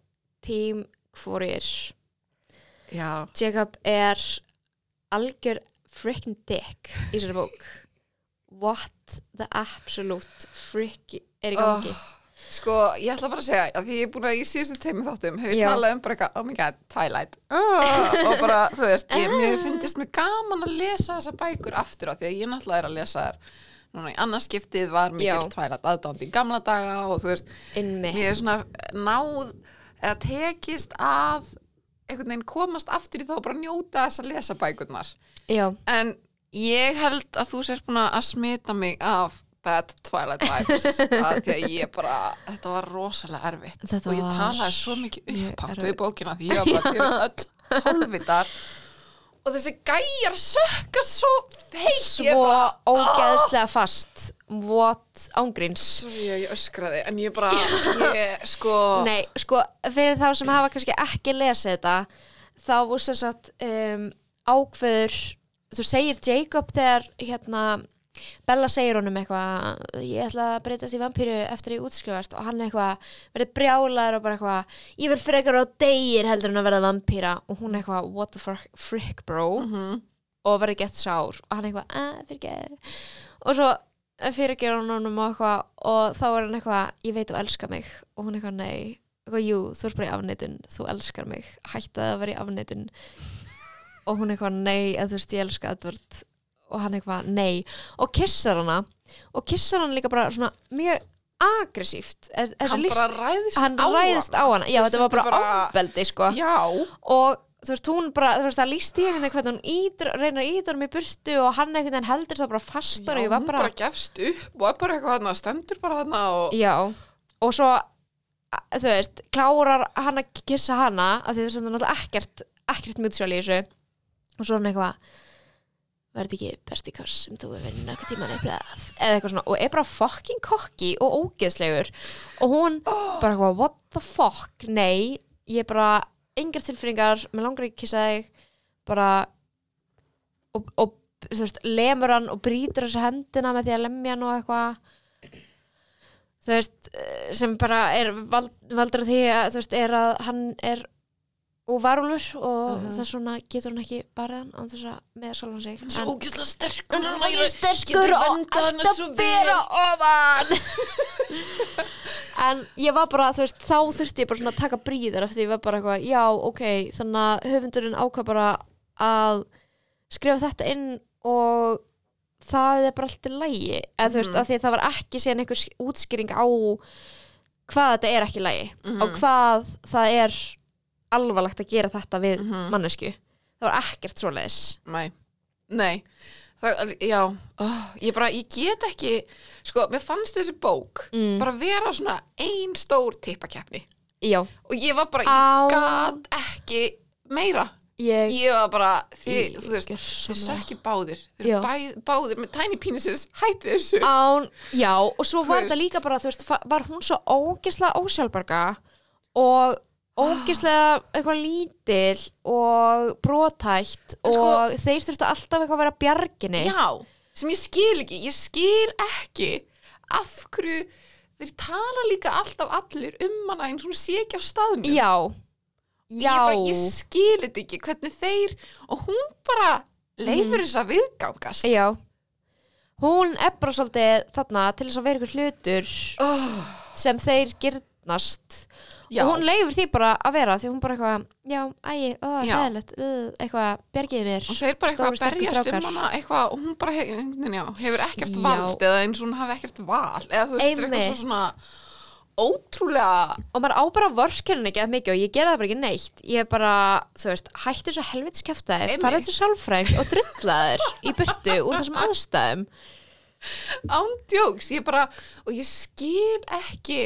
Speaker 1: team hvorir
Speaker 2: já,
Speaker 1: Jacob er algjör freaking dick í þessari bók what the absolute frick er í
Speaker 2: Oh.
Speaker 1: gangi
Speaker 2: Sko, ég ætla bara að segja að því ég er búin að í síðustu teimu þáttum hefur
Speaker 1: Já.
Speaker 2: talað um bara eitthvað, oh my god, Twilight uh, (laughs) og bara, þú veist,
Speaker 1: Ah.
Speaker 2: ég, mér finnist mér gaman að lesa þessa bækur aftur á því að ég náttúrulega er að lesa þær núna í annarskiptið var
Speaker 1: Já.
Speaker 2: mikil Twilight aðdánd í gamla daga og þú veist,
Speaker 1: innmi,
Speaker 2: mér er svona náð eða tekist að einhvern veginn komast aftur í þá og bara njóta þess að lesa bækurnar
Speaker 1: já,
Speaker 2: en ég held að þú sért búin að smita mig af bad twilight
Speaker 1: (laughs)
Speaker 2: vibes að því að ég bara, þetta var rosalega erfitt
Speaker 1: Þetta
Speaker 2: og ég
Speaker 1: var
Speaker 2: talaði svo mikið
Speaker 1: mjög
Speaker 2: upphátt
Speaker 1: erfitt.
Speaker 2: við bókina því ég var bara
Speaker 1: (laughs)
Speaker 2: þér öll hálfitar og þessi gæjar sökka svo feitt ég
Speaker 1: svo
Speaker 2: bara,
Speaker 1: ógeðslega fast what ángríns
Speaker 2: sorry að ég öskraði en ég bara, ég sko
Speaker 1: Nei, sko, fyrir þá sem hafa kannski ekki lesið þetta þá voru sem sagt um, ákveður þú segir Jacob þegar hérna, Bella segir honum eitthvað ég ætla að breytast í vampíru eftir að ég útskrifast og hann eitthvað verið brjálaður og bara eitthvað ég vil frekar á degir heldur en að verða vampíra og hún eitthvað what the fuck, frick bro
Speaker 2: Mhm.
Speaker 1: og verði gett sár og hann eitthvað, að, fyrir og svo fyrirgerur hún honum og eitthvað og þá er hann eitthvað, ég veit þú elskar mig og hún eitthvað, nei, eitthvað, jú, þú ert bara í afneitun þú elskar mig, hættaði að vera í afneitun og hún eitthvað, nei eða þú veist, ég elska Edward og hann eitthvað, nei, og kissar hana og kissar hana líka bara svona mjög aggressíft hann
Speaker 2: hann bara ræðist
Speaker 1: hann
Speaker 2: á
Speaker 1: ræðist á hana, já,
Speaker 2: Þú veist,
Speaker 1: þetta var
Speaker 2: þetta
Speaker 1: bara, bara...
Speaker 2: bara-
Speaker 1: sko
Speaker 2: já,
Speaker 1: og þú veist, hún bara, þú veist, það líst í einhvern veginn hvernig hún ítur, reynar ítur um í burtu og hann einhvern veginn heldur það bara fast og
Speaker 2: já
Speaker 1: ég var
Speaker 2: hún
Speaker 1: bara,
Speaker 2: bara gefst upp og er bara eitthvað þarna, stendur bara þarna og
Speaker 1: já og svo, a- þú veist, klárar hann að kissa hana af því þess að það er náttúrulega ekkert, ekkert mutual í þessu og svo er hann eitthvað verði ekki besti kass sem þú hefur verið nokkuð tíman upplegað eða eitthvað svona, og er bara fucking kokki og ógeðslegur og hún
Speaker 2: (gasps)
Speaker 1: bara eitthvað, what the fuck nei, ég er bara engar tilfinningar, mér langar ekki að kissa þig bara og, og þú veist, lemur hann og brýtur þessu hendina með því að lemja hann og eitthvað þú veist, eh, sem bara er vald, valdur af því að þú veist, er að hann er óvarúlur og
Speaker 2: Mhm.
Speaker 1: þess vegna getur hann ekki barið hann án þess að með sjálfan sig
Speaker 2: svo
Speaker 1: En-
Speaker 2: ógislega sterkur
Speaker 1: En
Speaker 2: og
Speaker 1: hann
Speaker 2: væri-
Speaker 1: er sterkur
Speaker 2: getur
Speaker 1: og
Speaker 2: verndað hana
Speaker 1: alltaf
Speaker 2: svo
Speaker 1: vera
Speaker 2: vel.
Speaker 1: ofan (laughs) en ég var bara, þú veist, þá þurfti ég bara svona að taka bríðar eftir ég var bara eitthvað, já, ok þannig að höfundurinn ákvað bara að skrifa þetta inn og það er bara allt í lægi eða þú veist,
Speaker 2: Mhm.
Speaker 1: af því að það var ekki síðan einhver sk- útskýring á hvað þetta er ekki í lægi á
Speaker 2: Mhm.
Speaker 1: hvað það er alvarlegt að gera þetta við
Speaker 2: Mhm.
Speaker 1: mannesku það var ekkert svoleiðis
Speaker 2: Nei, nei Það, já, oh, ég bara, ég get ekki sko, mér fannst þessi bók
Speaker 1: Mm.
Speaker 2: bara vera svona ein stór tippakeppni
Speaker 1: já,
Speaker 2: og ég var bara,
Speaker 1: Á.
Speaker 2: ég gat ekki meira,
Speaker 1: ég
Speaker 2: ég var bara þið,
Speaker 1: Ég
Speaker 2: þú veist,
Speaker 1: er
Speaker 2: þið
Speaker 1: sammála.
Speaker 2: sökki báðir þið
Speaker 1: Já.
Speaker 2: eru bæ, báðir með tiny penises hætti þessu
Speaker 1: án, já, og svo
Speaker 2: Þú
Speaker 1: var þetta
Speaker 2: veist.
Speaker 1: líka bara, þú veist, fa- var hún svo ógislega ósjálfbarga og ógislega eitthvað lítil og brotætt
Speaker 2: En sko-
Speaker 1: og þeir þurftu alltaf eitthvað að vera bjarginni
Speaker 2: Já, sem ég skil ekki, ég skil ekki af hverju þeir tala líka alltaf allir um hana eins og hún sé ekki á staðnum
Speaker 1: Já,
Speaker 2: Ég
Speaker 1: já,
Speaker 2: bara, ég skil þetta ekki hvernig þeir og hún bara leifur þess að viðgangast
Speaker 1: Mhm. já. Hún er bara svolítið þarna til þess að vera ykkur hlutur
Speaker 2: oh,
Speaker 1: sem þeir gyrnast
Speaker 2: já.
Speaker 1: og hún leifir því bara að vera því hún bara eitthvað, já, ægi, ó,
Speaker 2: Já.
Speaker 1: hæðilegt eitthvað, bjargiði mér
Speaker 2: og þeir bara eitthvað
Speaker 1: stóru, sterku
Speaker 2: berjast
Speaker 1: strákar.
Speaker 2: um hana eitthvað, og hún bara hef, njá, hefur ekkert
Speaker 1: Já.
Speaker 2: vald eða eins og hún hafi ekkert val eða þú veist, þetta er eitthvað
Speaker 1: Einmitt.
Speaker 2: svo svona ótrúlega
Speaker 1: og maður á bara að vorkenna ekki að mikið og ég gera það bara ekki neitt ég er bara, þú veist, hættu svo helvits kæfta þér,
Speaker 2: Einmitt.
Speaker 1: farið til sálfræng og drulla þér í burtu úr þessum aðstæðum
Speaker 2: ándjóks ég bara, og ég skil ekki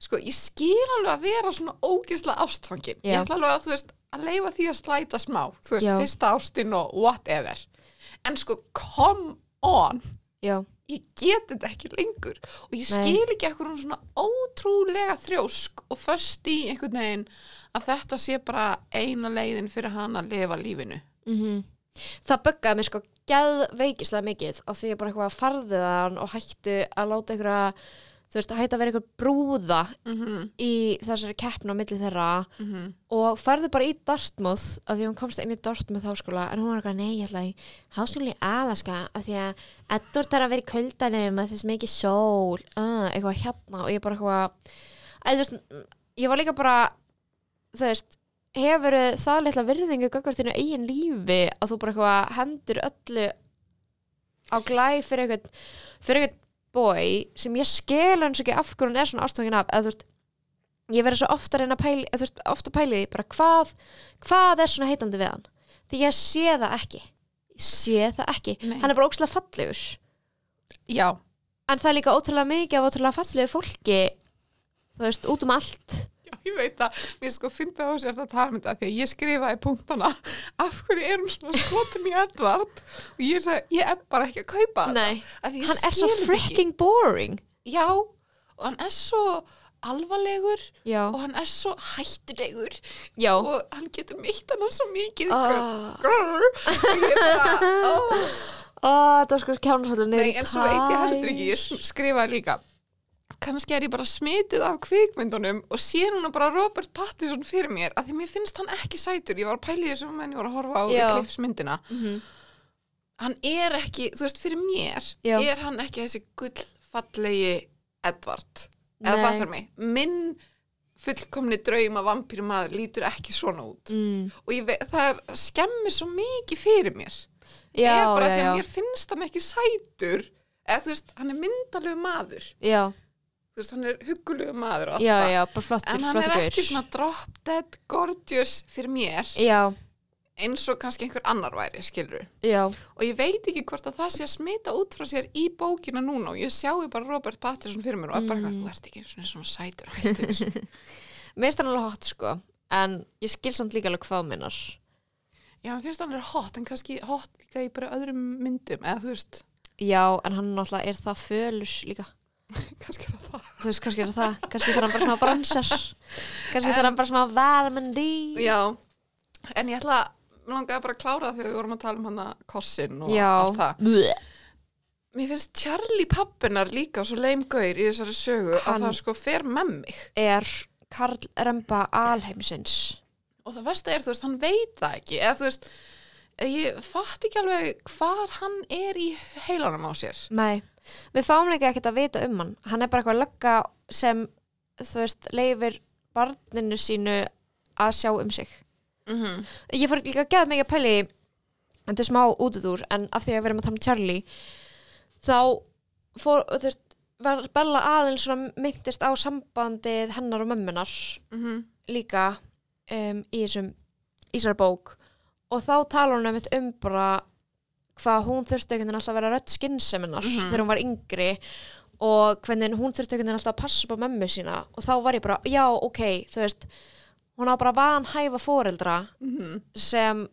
Speaker 2: sko, ég skil alveg að vera svona ógislega ástfangin ég
Speaker 1: Já.
Speaker 2: ætla alveg að, þú veist, að leifa því að slæta smá þú veist,
Speaker 1: Já.
Speaker 2: fyrsta ástin og whatever en sko, come on
Speaker 1: já,
Speaker 2: ég get þetta ekki lengur og ég
Speaker 1: Nei.
Speaker 2: skil ekki ekkur hún svona ótrúlega þrjósk og föst í einhvern veginn að þetta sé bara eina leiðin fyrir hann að lifa lífinu
Speaker 1: mhm það buggaði mér sko geð veikislega mikið á því ég bara eitthvað farðið hann og hættu að láta einhverja þú veist, hættu að vera einhver brúða
Speaker 2: mm -hmm.
Speaker 1: í þessari keppna á milli þeirra og færði bara í Dartmouth af því að hún komst inn í Dartmouth háskóla en hún var eitthvað, nei, ég ætla í háskóla í Alaska af því að Edward þarf að vera í kuldanum að þess mikið sól uh, eitthvað hérna og ég bara eitthvað að, þú veist, m- ég var líka bara þú veist, hefur það litla virðingu gangast þínu eigin lífi að þú bara eitthvað hendur öllu á glæ fyrir eitthvað fyrir eitthvað boy sem ég skil hans ekki af hverju hún er svona ástöngin af eða þú veist ég verið svo ofta að reyna að pæli eða, þú veist, ofta að pæli því bara hvað hvað er svona heitandi við hann því ég sé það ekki ég sé það ekki,
Speaker 2: Nei.
Speaker 1: hann er bara ókslega fallegur
Speaker 2: já,
Speaker 1: en það er líka ótrúlega mikið af ótrúlega fallegu fólki þú veist, út um allt
Speaker 2: Já, (laughs) ég veit það, mér sko finnst það á sér að tala um þetta því að ég skrifaði punktana af hverju erum svona skotum í Edvard og ég sagði, ég er bara ekki að kaupa þetta
Speaker 1: Nei,
Speaker 2: Af því ég
Speaker 1: hann er svo
Speaker 2: skil þetta ekki.
Speaker 1: freaking boring
Speaker 2: já, og hann er svo alvarlegur
Speaker 1: já,
Speaker 2: og hann er svo hættulegur
Speaker 1: já
Speaker 2: og hann getur meitt hann svo mikið
Speaker 1: Ah.
Speaker 2: grrr, og
Speaker 1: (laughs)
Speaker 2: ég bara, "Oh ó
Speaker 1: Ó, það var sko kjánarfallin
Speaker 2: Nei, en svo veit ég heldur ekki, ég sm- skrifaði líka kannski er ég bara smituð af kvikmyndunum og sé núna bara Robert Pattinson fyrir mér að því mér finnst hann ekki sætur ég var að pæli þessu menn ég var að horfa á
Speaker 1: Já.
Speaker 2: klipsmyndina
Speaker 1: Mhm.
Speaker 2: hann er ekki, þú veist, fyrir mér
Speaker 1: Já.
Speaker 2: er hann ekki þessi gullfallegi Edvard eða
Speaker 1: Nei.
Speaker 2: fattar mig, minn fullkomni drauma vampýrumaður lítur ekki svona út
Speaker 1: mm,
Speaker 2: og ég veit, það er, skemmir svo mikið fyrir mér
Speaker 1: já,
Speaker 2: er bara
Speaker 1: já,
Speaker 2: því
Speaker 1: já,
Speaker 2: að mér finnst hann ekki sætur eða þú veist, hann er myndalegu maður
Speaker 1: já,
Speaker 2: þú veist, hann er huggulegu maður og allt
Speaker 1: já,
Speaker 2: það.
Speaker 1: já, bara flottur,
Speaker 2: en hann er
Speaker 1: flottur
Speaker 2: ekki svona drop dead gorgeous fyrir mér
Speaker 1: já,
Speaker 2: eins og kannski einhver annar væri, skilur
Speaker 1: já,
Speaker 2: og ég veit ekki hvort að það sé að smita út frá sér í bókina núna og ég sjáu bara Robert Pattinson fyrir mér og er bara
Speaker 1: Mm.
Speaker 2: eitthvað, þú ert ekki svona, svona sætur
Speaker 1: (laughs)
Speaker 2: og heitur
Speaker 1: mér finnst hann alveg hot sko en ég skil samt líka alveg hvað þú meinar
Speaker 2: já, mér finnst hann er hot, en kannski hot líka í bara öðrum myndum eða þú veist, (laughs)
Speaker 1: já, en hann náttúrulega er það fölur líka
Speaker 2: kannski er það það
Speaker 1: þú veist, kannski er það, kannski þarf hann bara svona bransar kannski þarf hann bara svona vermendi
Speaker 2: Já, en ég ætla mig langaði bara að klára það þegar við vorum að tala um hana kossin og
Speaker 1: já,
Speaker 2: allt það.
Speaker 1: Bleh.
Speaker 2: Mér finnst Charlie pappinar líka svo leimgauður í þessari sögu
Speaker 1: Hann-
Speaker 2: að það sko fer með mig.
Speaker 1: er Karl Remba alheimsins
Speaker 2: Og það versta er, þú veist, hann veit það ekki. Eða þú veist, ég fatt ekki alveg hvar hann er í heilanum á sér.
Speaker 1: nei, við fáum líka ekkert að vita um hann hann er bara eitthvað lögga sem þú veist, leifir barninu sínu að sjá um sig
Speaker 2: Mm -hmm.
Speaker 1: ég fór líka að geða mikið að pæli í- en þetta er smá útið úr en af því að við erum að tala um Charlie þá fór, þú veist var Bella aðeins svona myndist á sambandið hennar og mömmunar
Speaker 2: Mm -hmm.
Speaker 1: líka um, í þessum í þessari bók og þá tala hún einmitt um bara hvað hún þurfti einhvern veginn alltaf að vera rödd skynseminar
Speaker 2: Mhm.
Speaker 1: þegar hún var yngri og hvernig hún þurfti einhvern veginn alltaf að passa upp á mömmu sína og þá var ég bara, já, ok, þú veist hún á bara vanhæfa foreldra
Speaker 2: Mhm.
Speaker 1: sem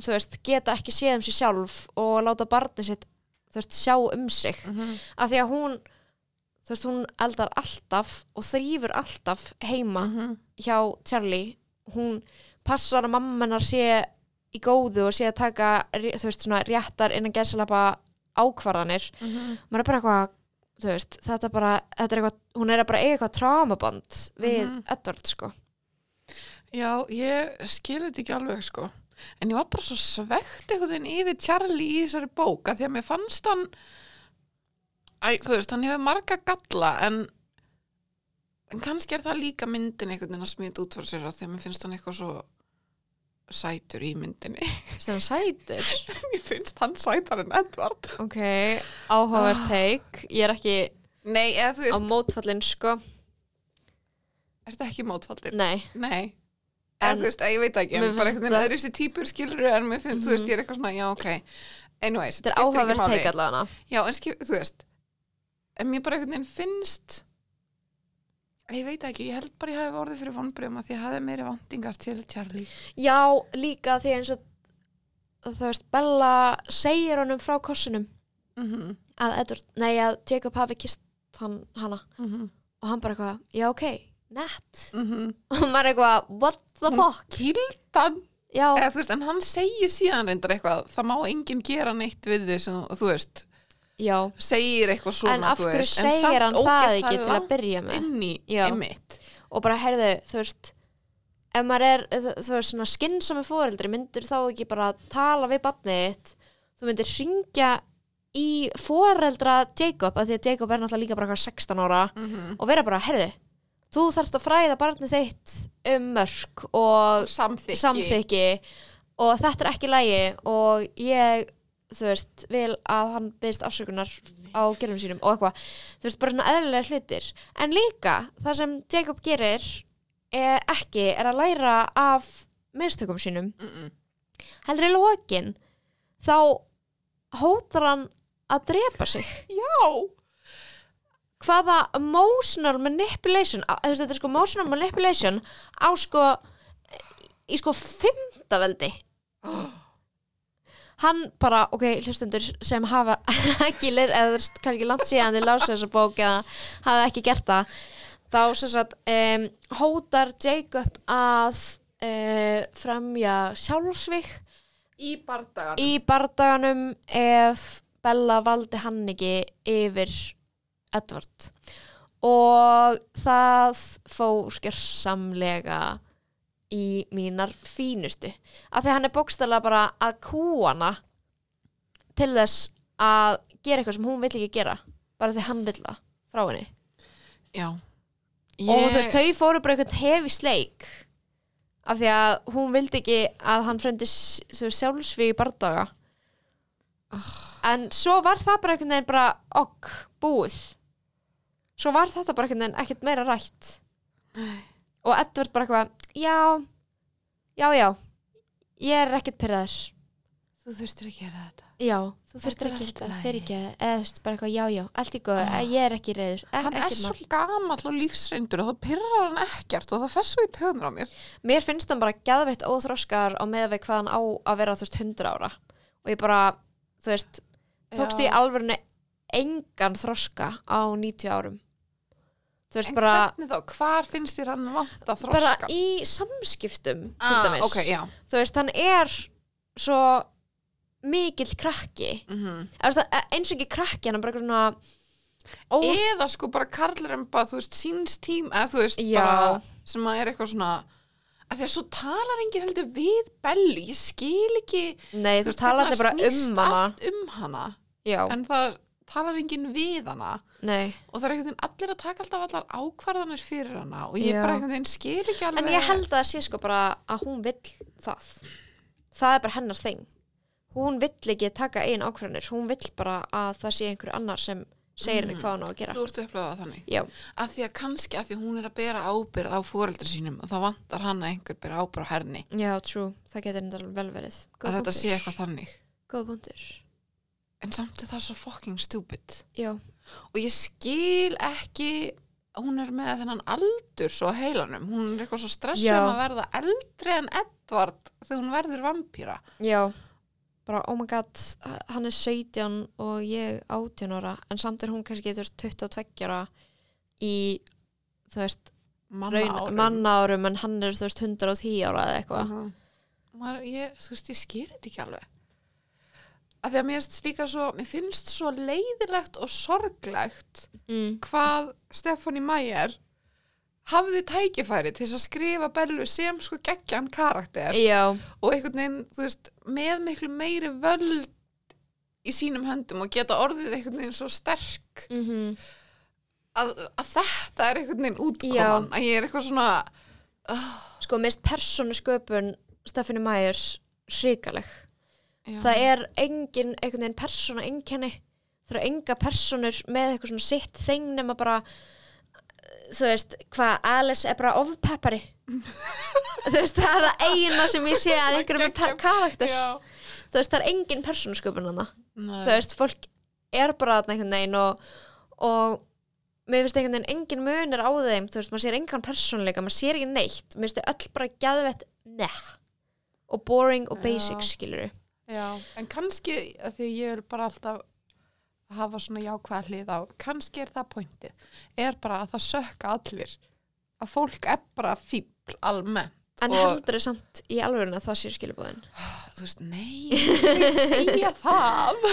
Speaker 1: þú veist, geta ekki séð um sig sjálf og láta barnið sitt þú veist, sjá um sig
Speaker 2: Mhm.
Speaker 1: af því að hún þú veist, hún eldar alltaf og þrýfur alltaf heima
Speaker 2: Mhm.
Speaker 1: hjá Charlie hún passar að mamma hennar sé í góðu og sé að Mhm. taka ré- þú veist, svona réttar innan gæsalapa ákvarðanir maður er bara eitthvað þú veist, þetta bara, þetta er eitthvað, hún er að bara eiga eitthvað trámaband við
Speaker 2: Mhm.
Speaker 1: Edward, sko.
Speaker 2: Já, ég skil þetta ekki alveg sko en ég var bara svo svegt einhvern veginn yfir Charlie í þessari bók að því að mér fannst hann Æ, þú veist, hann hefur marga galla en, en kannski er það líka myndin einhvern veginn að smita út fyrir sér að því að mér finnst hann eitthvað svo sætur í myndinni (laughs)
Speaker 1: Þetta er sætur.
Speaker 2: Mér finnst hann sætar en Edvard
Speaker 1: Ok, áhugavert teik. Ég er ekki
Speaker 2: Nei, eða þú
Speaker 1: á
Speaker 2: veist,
Speaker 1: mótfallin, sko.
Speaker 2: ertu ekki mótfaldin?
Speaker 1: Nei.
Speaker 2: Nei En,
Speaker 1: En-
Speaker 2: þú veist, að ég veit ekki,
Speaker 1: Mér
Speaker 2: en bara
Speaker 1: finnst
Speaker 2: einhvern veginn
Speaker 1: það- Mhm.
Speaker 2: öðru sér típur skilur en mér finnst, þú veist, ég er eitthvað svona, já, ok Anyways,
Speaker 1: Þetta er
Speaker 2: skiptir ekki
Speaker 1: áhugavert
Speaker 2: máli.
Speaker 1: teik allavega.
Speaker 2: Já, en skip, þú veist en mér bara einhvern veginn finnst ég veit ekki, ég held bara ég hafi orðið fyrir vonbröðum að því ég hafi meiri vantingar til Charlie
Speaker 1: Já, líka því eins og, þú veist, Bella segir honum frá kossinum
Speaker 2: mm -hmm.
Speaker 1: að Edward, nei, að Jacob hafi kist hann, hana.
Speaker 2: Mm -hmm.
Speaker 1: Og hann bara eitthvað, já, ok, nett. (laughs) Og maður er eitthvað, what
Speaker 2: Mm.
Speaker 1: the fuck?
Speaker 2: Kildan
Speaker 1: Já,
Speaker 2: Eða, þú veist, en hann segir síðan reyndar eitthvað það má enginn gera neitt við því sem, þú veist,
Speaker 1: já.
Speaker 2: segir eitthvað svona
Speaker 1: en af
Speaker 2: þú
Speaker 1: hverju
Speaker 2: veist, en samt
Speaker 1: segir hann það
Speaker 2: ógeðslega
Speaker 1: ekki til að
Speaker 2: langt
Speaker 1: byrja með
Speaker 2: inn í
Speaker 1: Já.
Speaker 2: einmitt
Speaker 1: og bara herðu, þú veist ef maður er, þú þú veist, svona skinnsami fóreldri myndur þá ekki bara tala við barnið þitt, þú myndir syngja í fóreldra Jacob, af því að Jacob er náttúrulega líka bara eitthvað 16 ára og vera bara, herðu þú þarfst að fræða barnið þitt um mörk og
Speaker 2: samþykki,
Speaker 1: samþykki og þetta er ekki lægi og ég þú veist, vil að hann byrðist afsökunar á gerðum sínum og eitthvað þú veist, bara svona eðlilega hlutir en líka, það sem Jacob gerir er ekki, er að læra af mistökum sínum
Speaker 2: Mm -mm.
Speaker 1: heldur í lokin þá hótar hann að drepa sig
Speaker 2: Já,
Speaker 1: hvaða emotional manipulation á- þú veist, þetta er sko emotional manipulation á sko í sko fymtaveldi hann bara, ok, hlustendur sem hafa (laughs) ekki leir, eða þú veist, kannski langt síðan þið lása þessa bók eða hafa ekki gert það þá sem sagt um, hótar Jacob að uh, fremja sjálfsvík
Speaker 2: í bardagan
Speaker 1: í bardaganum ef Bella valdi hann ekki yfir Edvard og það fór skjörsamlega í mínar fínustu af því að hann er bókstælega bara að kúa hana til þess að gera eitthvað sem hún vill ekki gera bara því hann vill það frá henni
Speaker 2: Já
Speaker 1: og þú veist, þau fóru bara eitthvað hefi sleik af því að hún vildi ekki að hann fremdi s- þú veist, sjálfsvíg í bardaga en svo var það bara einhvern veginn bara okk, búið svo var þetta bara einhvern veginn ekkert meira rætt
Speaker 2: Nei.
Speaker 1: og Edward bara eitthvað já, já, já ég er ekkert pyrraður
Speaker 2: Þú þurftir að gera þetta
Speaker 1: já, þú
Speaker 2: Þetta
Speaker 1: þurftir
Speaker 2: er
Speaker 1: ekki
Speaker 2: allt í
Speaker 1: þetta,
Speaker 2: lagi.
Speaker 1: fyrir ekki eða þú veist, bara eitthvað, já, já, allt í góð
Speaker 2: Ah.
Speaker 1: ég er ekki reyður, e
Speaker 2: Hann er
Speaker 1: ekkert
Speaker 2: svo
Speaker 1: mál
Speaker 2: gamall og lífsreyndur og það pyrrar hann ekkert og það fessu í töðunar á mér.
Speaker 1: mér finnst hann bara gæðveitt óþroskar á meða við hvað hann á að vera þú veist 100 ára og ég bara, þú veist tókst
Speaker 2: Já.
Speaker 1: ég alvörinu engan þroska á 90 árum þú veist
Speaker 2: En
Speaker 1: bara
Speaker 2: hvernig þá? Hvar finnst þér hann vanta þroska?
Speaker 1: bara í samskiptum til
Speaker 2: ah,
Speaker 1: dæmis,
Speaker 2: ok, já.
Speaker 1: þú veist hann er svo mikill krakki
Speaker 2: Mm
Speaker 1: Eða, þú veist, e- eins og ekki krakki hann er bara eitthvað svona ó,
Speaker 2: Eða sko bara karlir en bara, þú veist, síns tím, eða þú veist,
Speaker 1: Já.
Speaker 2: bara sem að er eitthvað svona að því að svo talar enginn heldur við Bellu, ég skil ekki
Speaker 1: nei þú
Speaker 2: veist,
Speaker 1: talaði
Speaker 2: hvernig
Speaker 1: bara
Speaker 2: það snýst
Speaker 1: um hana
Speaker 2: allt um hana,
Speaker 1: já,
Speaker 2: en það talar enginn við hana
Speaker 1: nei
Speaker 2: og það er einhvern veginn allir að taka alltaf allar ákvarðanir fyrir hana og ég
Speaker 1: Já.
Speaker 2: bara einhvern veginn skil ekki alveg
Speaker 1: En ég held að það sé sko bara að hún vill það. Það er bara hennar þing. Hún vill ekki taka einn ákvörðanir. Hún vill bara að það sé einhver annar sem segir henni hvað hann á að gera.
Speaker 2: Þú ertu upplöðað þannig
Speaker 1: Já,
Speaker 2: að því að kannski að því að hún er að bera ábyrð á fóreldri sínum og þá vantar hann að einhver bera ábyrð á herni
Speaker 1: já, true. Það getur enda vel verið.
Speaker 2: að þetta sé eitthvað þannig
Speaker 1: Góð búndur.
Speaker 2: en samt er það svo fucking stupid
Speaker 1: Já,
Speaker 2: og ég skil ekki hún er með þennan aldur svo á heilanum, hún er eitthvað svo stressuð
Speaker 1: Já.
Speaker 2: um að verða eldri en Edvard þegar hún verður vampýra
Speaker 1: já. Bara, oh my god, hann er 17 og ég 18 ára. En samt er hún kannski þú veist, 22 ára í, þú veist, raun- mannárum en hann er, þú veist, 110 ára eða eitthvað.
Speaker 2: Maður, ég, þú veist, ég skil þetta ekki alveg að því að mér finnst líka svo, mér finnst svo leiðilegt og sorglegt
Speaker 1: mm.
Speaker 2: hvað Stefáni Mæjar hafði tækifæri til þess að skrifa Bellu sem sko geggjan karakter
Speaker 1: Já,
Speaker 2: og einhvern veginn, þú veist, með miklu meiri völd í sínum höndum og geta orðið einhvern veginn svo sterk
Speaker 1: mm
Speaker 2: að, að þetta er einhvern veginn útkoman að ég er eitthvað svona
Speaker 1: sko mest persónu sköpun Stefáni Mæjurs hrikaleg
Speaker 2: já,
Speaker 1: það er engin einhvern veginn persóna enginni það eru enga persónur með eitthvað svona sitt þeng nema bara eh, þú veist, hvað Alice er bara
Speaker 2: (laughs)
Speaker 1: ofpeppari þú veist, það er það eina sem ég sé að einhverjum er pe- karakter
Speaker 2: já.
Speaker 1: þú veist, það er engin persónusköpun hana
Speaker 2: Nei.
Speaker 1: þú veist, fólk er bara þarna einhvern veginn og, og mér finnst einhvern veginn engin munir á þeim þú veist, maður sér engan persónuleika, maður sér ekki neitt mér finnst þau öll bara gæðvett neh og boring og
Speaker 2: Já.
Speaker 1: basic skilur
Speaker 2: Já, en kannski að því ég vil bara alltaf hafa svona jákvæða hlið á, kannski er það pointið, er bara að það sökka allir, að fólk er bara fíbl almenn
Speaker 1: En
Speaker 2: Og-
Speaker 1: heldur þau samt í alvegurinn að það séu skilabóðin?
Speaker 2: þú veist, nei, ég vil ekki segja það (laughs)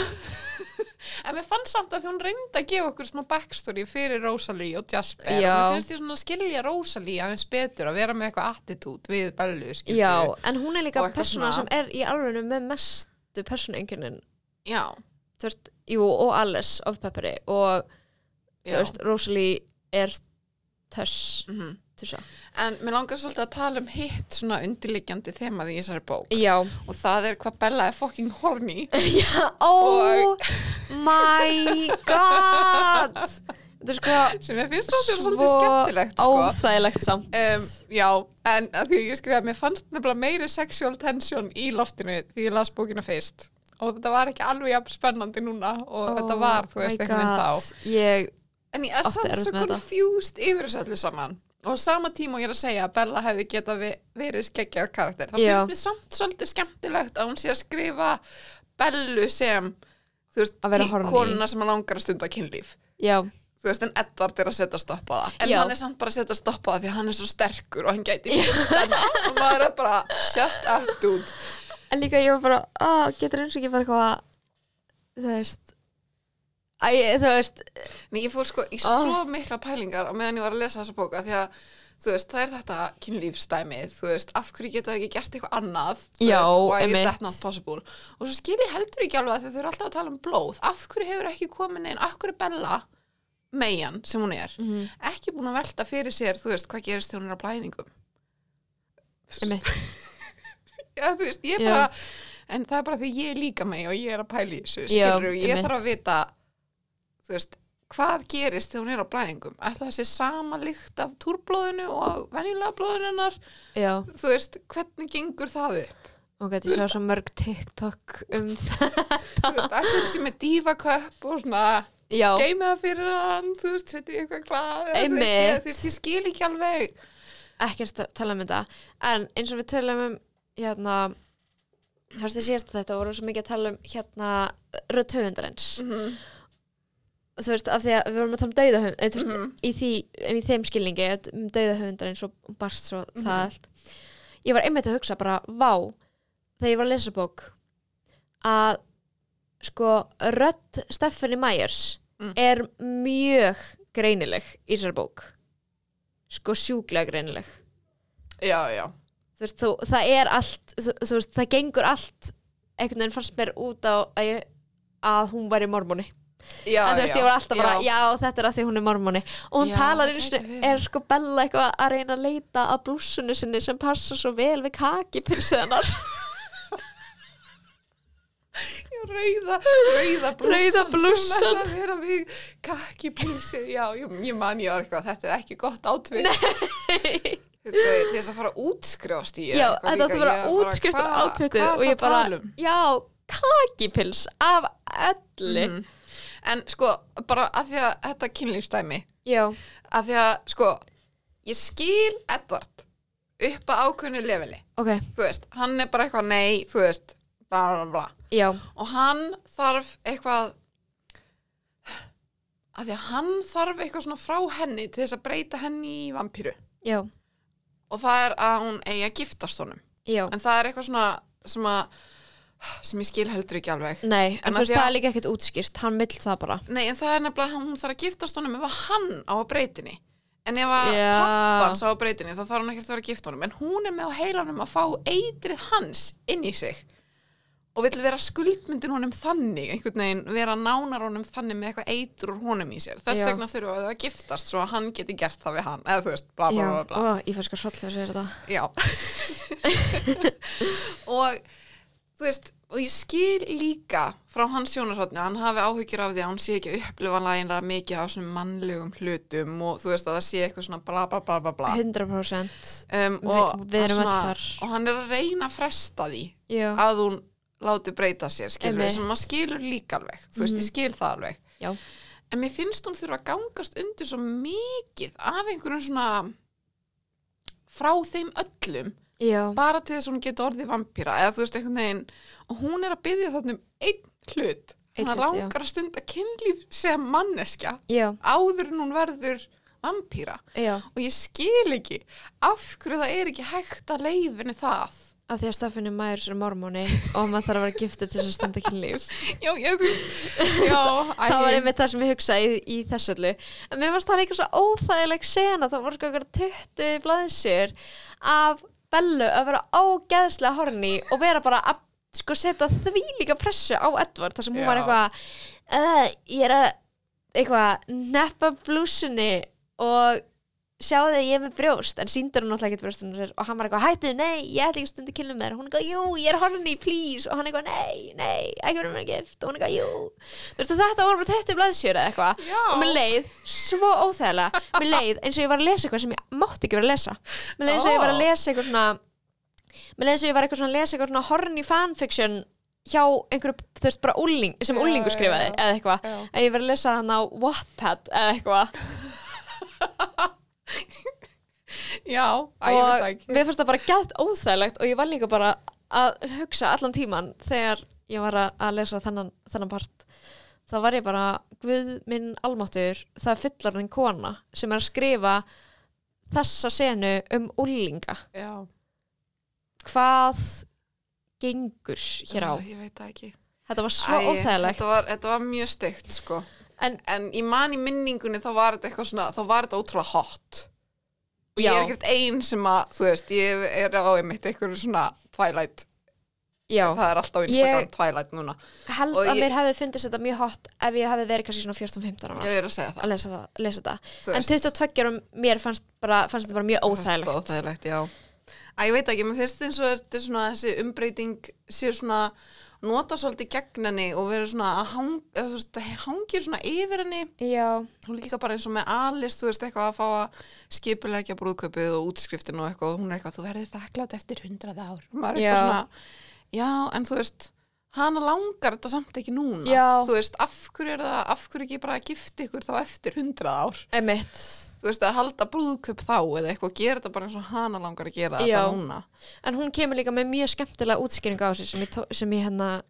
Speaker 2: en mér fannst samt að því hún reyndi að gefa okkur smá backstory fyrir Rosalie og Jasper
Speaker 1: Já.
Speaker 2: og mér finnst ég svona að skilja Rosalie aðeins betur að vera með eitthvað attitút við Bellu, skilju
Speaker 1: Já, en hún er líka
Speaker 2: Og eitthvað
Speaker 1: persóna sem
Speaker 2: svona.
Speaker 1: er í alvegurinn með mestu persónuengjunin
Speaker 2: já,
Speaker 1: Þú veist, jú, og Alice of Pepperi og, þú
Speaker 2: já.
Speaker 1: veist, Rosalie er töss,
Speaker 2: Mhm.
Speaker 1: tussa
Speaker 2: en mér langar svolítið að tala um hitt svona undirliggjandi þemað í þessari bók
Speaker 1: Já,
Speaker 2: og það er hvað Bella er fucking horny
Speaker 1: Já, oh my god Þetta er sko
Speaker 2: sem ég finnst þetta er svolítið skemmtilegt
Speaker 1: svo
Speaker 2: sko.
Speaker 1: óþægilegt samt
Speaker 2: um, já, en að því ég skrifaði mér fannst nefnilega meiri sexual tension í loftinu því ég las bókina fyrst og þetta var ekki alveg jafn spennandi núna
Speaker 1: Oh
Speaker 2: og þetta var, þú veist, einhvern veginn þá
Speaker 1: þá Ég,
Speaker 2: en ég er
Speaker 1: Átti
Speaker 2: samt
Speaker 1: erfitt
Speaker 2: svo
Speaker 1: með þetta.
Speaker 2: confused yfir þessu allir saman og á sama tíma og ég er að segja að Bella hefði geta verið skeggjar karakter þá
Speaker 1: Já.
Speaker 2: finnst mér samt svolítið skemmtilegt að hún sé að skrifa Bellu sem þú veist,
Speaker 1: Að vera
Speaker 2: tí-
Speaker 1: horny.
Speaker 2: konuna sem að langar að stunda kynlíf
Speaker 1: já,
Speaker 2: þú veist, en Edvard er að setja stopp á það en
Speaker 1: Já.
Speaker 2: hann er samt bara að setja stopp á það því að hann er svo sterkur og hann gæti hlustanna og maður er bara, shut up dude
Speaker 1: en líka ég var bara ah, Getur eins og ekki bara eitthvað Þú veist Æ, þú veist
Speaker 2: en ég fór sko í
Speaker 1: Ah.
Speaker 2: svo mikla pælingar á meðan ég var að lesa þessa bóka því að, þú veist, það er þetta kynlífsdæmið, þú veist, af hverju geta þau ekki gert eitthvað annað, þú
Speaker 1: Já,
Speaker 2: veist, why
Speaker 1: einmitt.
Speaker 2: is that not possible og svo skil ég heldur ekki alveg að þau þau eru alltaf að tala um blóð, af hverju hefur ekki komin einn, af hverju er Bella megan sem hún er,
Speaker 1: Mhm.
Speaker 2: ekki búin að velta fyrir sér, þú veist, hvað gerist þegar hún er á blæðingum
Speaker 1: Einmitt.
Speaker 2: Já, þú veist, ég
Speaker 1: Já.
Speaker 2: bara, en það er bara því ég er líka með og ég er að pæli þessu,
Speaker 1: Já,
Speaker 2: skilur og ég
Speaker 1: einmitt.
Speaker 2: þarf að vita, þú veist, hvað gerist þegar hún er á blæðingum? Ætla það sé sama lykt af túrblóðinu og venjulega blóðinu hennar,
Speaker 1: Já,
Speaker 2: þú veist, hvernig gengur það upp?
Speaker 1: og gæti sjá svo mörg TikTok um það
Speaker 2: Þú veist, ætla það sé með dífaköpp og svona,
Speaker 1: Já,
Speaker 2: geymið það fyrir hann, þú veist, setja í eitthvað glað, eða þú veist,
Speaker 1: Einmitt.
Speaker 2: ég, þú veist, ég skil ekki alveg.
Speaker 1: ekkert að tala um þetta en eins og við tölum um hérna hérstu síðast þetta vorum við svo mikið að tala um hérna rödd höfundarins
Speaker 2: Mm -hmm.
Speaker 1: þú veist af því að við vorum að tala um dauða höfundarins þú veist
Speaker 2: Mhm.
Speaker 1: í, því, í þeim skilningi um dauða höfundarins og barst svo
Speaker 2: Mhm.
Speaker 1: það allt ég var einmitt að hugsa bara vá þegar ég var að lesa þessa bók að sko rödd Stephanie Myers
Speaker 2: Mm.
Speaker 1: er mjög greinileg í þessar bók sko sjúklega greinileg
Speaker 2: Já, já.
Speaker 1: þú veist, þú, það er allt þú, þú veist, það gengur allt einhvern veginn fannst mér út á að, ég, að hún væri mormóni
Speaker 2: Já,
Speaker 1: en þú veist, ég var alltaf bara,
Speaker 2: já.
Speaker 1: já. þetta er að því hún er mormóni og hún
Speaker 2: Já,
Speaker 1: talar
Speaker 2: það
Speaker 1: einu
Speaker 2: gæti
Speaker 1: sinni,
Speaker 2: verið.
Speaker 1: er sko Bella eitthvað að reyna að leita að blússunni sinni sem passa svo vel við kakipilsuðanar
Speaker 2: Já, rauða, rauða blússan
Speaker 1: Rauða blússan.
Speaker 2: sem ætla að vera við kakki blúsið, já, ég, ég man ég var eitthvað þetta er ekki gott átvið hugsaði til þess að fara að útskrifast í
Speaker 1: já, þetta átti bara útskrift átvitið og ég bara,
Speaker 2: um?
Speaker 1: já, kakipils af öllu
Speaker 2: mm. en sko, bara að því að þetta kynlífstæmi
Speaker 1: já,
Speaker 2: að því að, sko ég skil Edvard upp að ákveðnu leveli,
Speaker 1: ok,
Speaker 2: þú veist hann er bara eitthvað nei, þú veist bla bla bla
Speaker 1: já,
Speaker 2: og hann þarf eitthvað að því að hann þarf eitthvað svona frá henni til þess að breyta henni í vampíru
Speaker 1: já,
Speaker 2: og það er að hún eigi að giftast honum
Speaker 1: já
Speaker 2: en það er eitthvað svona sem að sem ég skil heldur ekki alveg
Speaker 1: Nei, en
Speaker 2: En
Speaker 1: þú veist,
Speaker 2: að því að-
Speaker 1: það er líka ekkert útskýrt, hann vill það bara.
Speaker 2: Nei, en það er nefnilega að hún þarf að giftast honum ef að hann á að breytinni. En ef að
Speaker 1: Já.
Speaker 2: pappans á að breytinni þá þarf hann ekkert að vera að gift honum. En hún er með á heilanum að fá eitrið hans inn í sig. Og vill vera skuldmyndin honum þannig, einhvern veginn vera nánar honum þannig með eitthvað eitur úr honum í sér. Þess
Speaker 1: Já.
Speaker 2: vegna þurfa þau að giftast svo að hann geti gert það við hann. Eða þú veist, bla bla
Speaker 1: Já,
Speaker 2: bla bla.
Speaker 1: ó, ég fannst sko hroll þegar þú segir þetta.
Speaker 2: Já. (laughs) og þú veist, og ég skil líka frá hans sjónarhóttinu, hann hafi áhyggjur af því að hún sé ekki að upplifa læginlega mikið af svona mannlegum hlutum og þú veist að það sé eitthvað svona bla bla bla bla bla.
Speaker 1: 100%.
Speaker 2: Um,
Speaker 1: Vi-
Speaker 2: og,
Speaker 1: við erum öll
Speaker 2: hann svona-
Speaker 1: þar.
Speaker 2: og hann er að reyna að fresta því
Speaker 1: Já.
Speaker 2: að hún láti breyta sér, skilur
Speaker 1: Einmitt. Mhm.
Speaker 2: við, sem maður skilur líka alveg, þú veist, ég skil það alveg.
Speaker 1: Já.
Speaker 2: En mér finnst hún þurfa að gangast undir svo mikið af einhverjum svona frá þeim öllum
Speaker 1: Já.
Speaker 2: bara til þess að hún geti orðið vampýra eða þú veist einhvern veginn og hún er að byggja þarna um einn hlut
Speaker 1: Einn
Speaker 2: hann
Speaker 1: hlut,
Speaker 2: langar að stunda kynlíf sem manneskja
Speaker 1: Já.
Speaker 2: áður en hún verður vampýra
Speaker 1: Já.
Speaker 2: og ég skil ekki af hverju það er ekki hægt að leifinu það
Speaker 1: Af því að Staffan er maður sem er mormóni og maður þarf að vera giftið til þess að stunda kynlíf.
Speaker 2: já, ég þú veist
Speaker 1: (laughs)
Speaker 2: já, æ,
Speaker 1: það var einmitt það sem ég hugsaði í, í þessu öllu en mér varst það líka svo óþægileg sena það voru sko ykkur 20 blaðsir af Bellu að vera ógeðslega horni og vera bara að sko setja því líka pressu á Edvard þar sem hún var
Speaker 2: Já.
Speaker 1: eitthvað uh, ég er að eitthvað neppa blúsunni og sjáðu að ég er með brjóst en síndur hún náttúrulega ekkert brjóstunum sér og hann var eitthvað hættu, nei, ég ætla ekki stundu kynlum með þér hún er eitthvað, jú, ég er horni, please og hann eitthvað, nei, nei, ekki verið með gift og hún eitthvað, jú, þú veistu þetta voru bara töttu blaðsjöra eða eitthvað
Speaker 2: Já.
Speaker 1: og mér leið svo óþægilega, mér leið eins og ég var að lesa eitthvað sem ég mátti ekki vera að lesa mér leið eins og ég var að
Speaker 2: Ó.
Speaker 1: lesa eitthvað svona mér leið eins og ég var eitthvað svona að lesa eitthvað svona horni fanfiction hjá einhverju, þú veist, bara úling, sem
Speaker 2: Já,
Speaker 1: úlingu
Speaker 2: já,
Speaker 1: skrifaði
Speaker 2: já.
Speaker 1: eða eitthvað,
Speaker 2: Já.
Speaker 1: að ég var að lesa hann á Wattpad eða eitthvað
Speaker 2: já, æ, ég veit það
Speaker 1: og
Speaker 2: ekki
Speaker 1: mér fannst það bara gætt óþægilegt og ég var líka bara að hugsa allan tíman þegar ég var að að lesa þennan, þennan part þá var ég bara, guð minn almáttur það er fullarðin kona sem er að skrifa þessa senu um úlinga
Speaker 2: já,
Speaker 1: hvað gengur hér á
Speaker 2: Já, ég veit það ekki
Speaker 1: þetta var svo
Speaker 2: Æ,
Speaker 1: óþægilegt
Speaker 2: þetta var, þetta var mjög stygt sko
Speaker 1: En-
Speaker 2: en í manni minningunni þá var þetta eitthvað svona þá var þetta ótrúlega hot og
Speaker 1: Já.
Speaker 2: ég er ekkert ein sem að þú veist, ég er á einmitt einhverju svona Twilight,
Speaker 1: já,
Speaker 2: það er alltaf Instagram
Speaker 1: Ég-
Speaker 2: Twilight núna,
Speaker 1: held
Speaker 2: og
Speaker 1: að
Speaker 2: ég-
Speaker 1: mér hefði fundist þetta mjög hot ef ég hefði verið kannski svona 14-15 ára
Speaker 2: ég er að segja það
Speaker 1: að lesa, það, lesa þetta
Speaker 2: Þú
Speaker 1: en
Speaker 2: veist.
Speaker 1: 22 ára mér fannst, bara, fannst þetta bara mjög
Speaker 2: Fast
Speaker 1: óþægilegt
Speaker 2: óþægilegt, já Æ, ég veit ekki, mér finnst eins og þetta er svona þessi umbreyting sé svona nota svolítið gegn henni og verið svona að hang, eða, þú veist, það hangir svona yfir henni
Speaker 1: Já,
Speaker 2: hún líka bara eins og með alist, þú veist, eitthvað að fá að skipulegja brúðkaupið og útskriftin og eitthvað, og hún er eitthvað, þú verður þakklátt eftir hundrað ár, og maður er
Speaker 1: Já.
Speaker 2: eitthvað svona já, en þú veist hana langar þetta samt ekki núna
Speaker 1: Já.
Speaker 2: þú veist, af hverju er það, af hverju ekki bara að gifta ykkur þá eftir hundrað ár
Speaker 1: emitt
Speaker 2: þú veist, að halda brúðkaup þá eða eitthvað, gera þetta bara eins og hana langar að gera
Speaker 1: Já.
Speaker 2: þetta núna
Speaker 1: En hún kemur líka með mjög skemmtilega útskýringa á sig sem ég, tó- sem ég hérna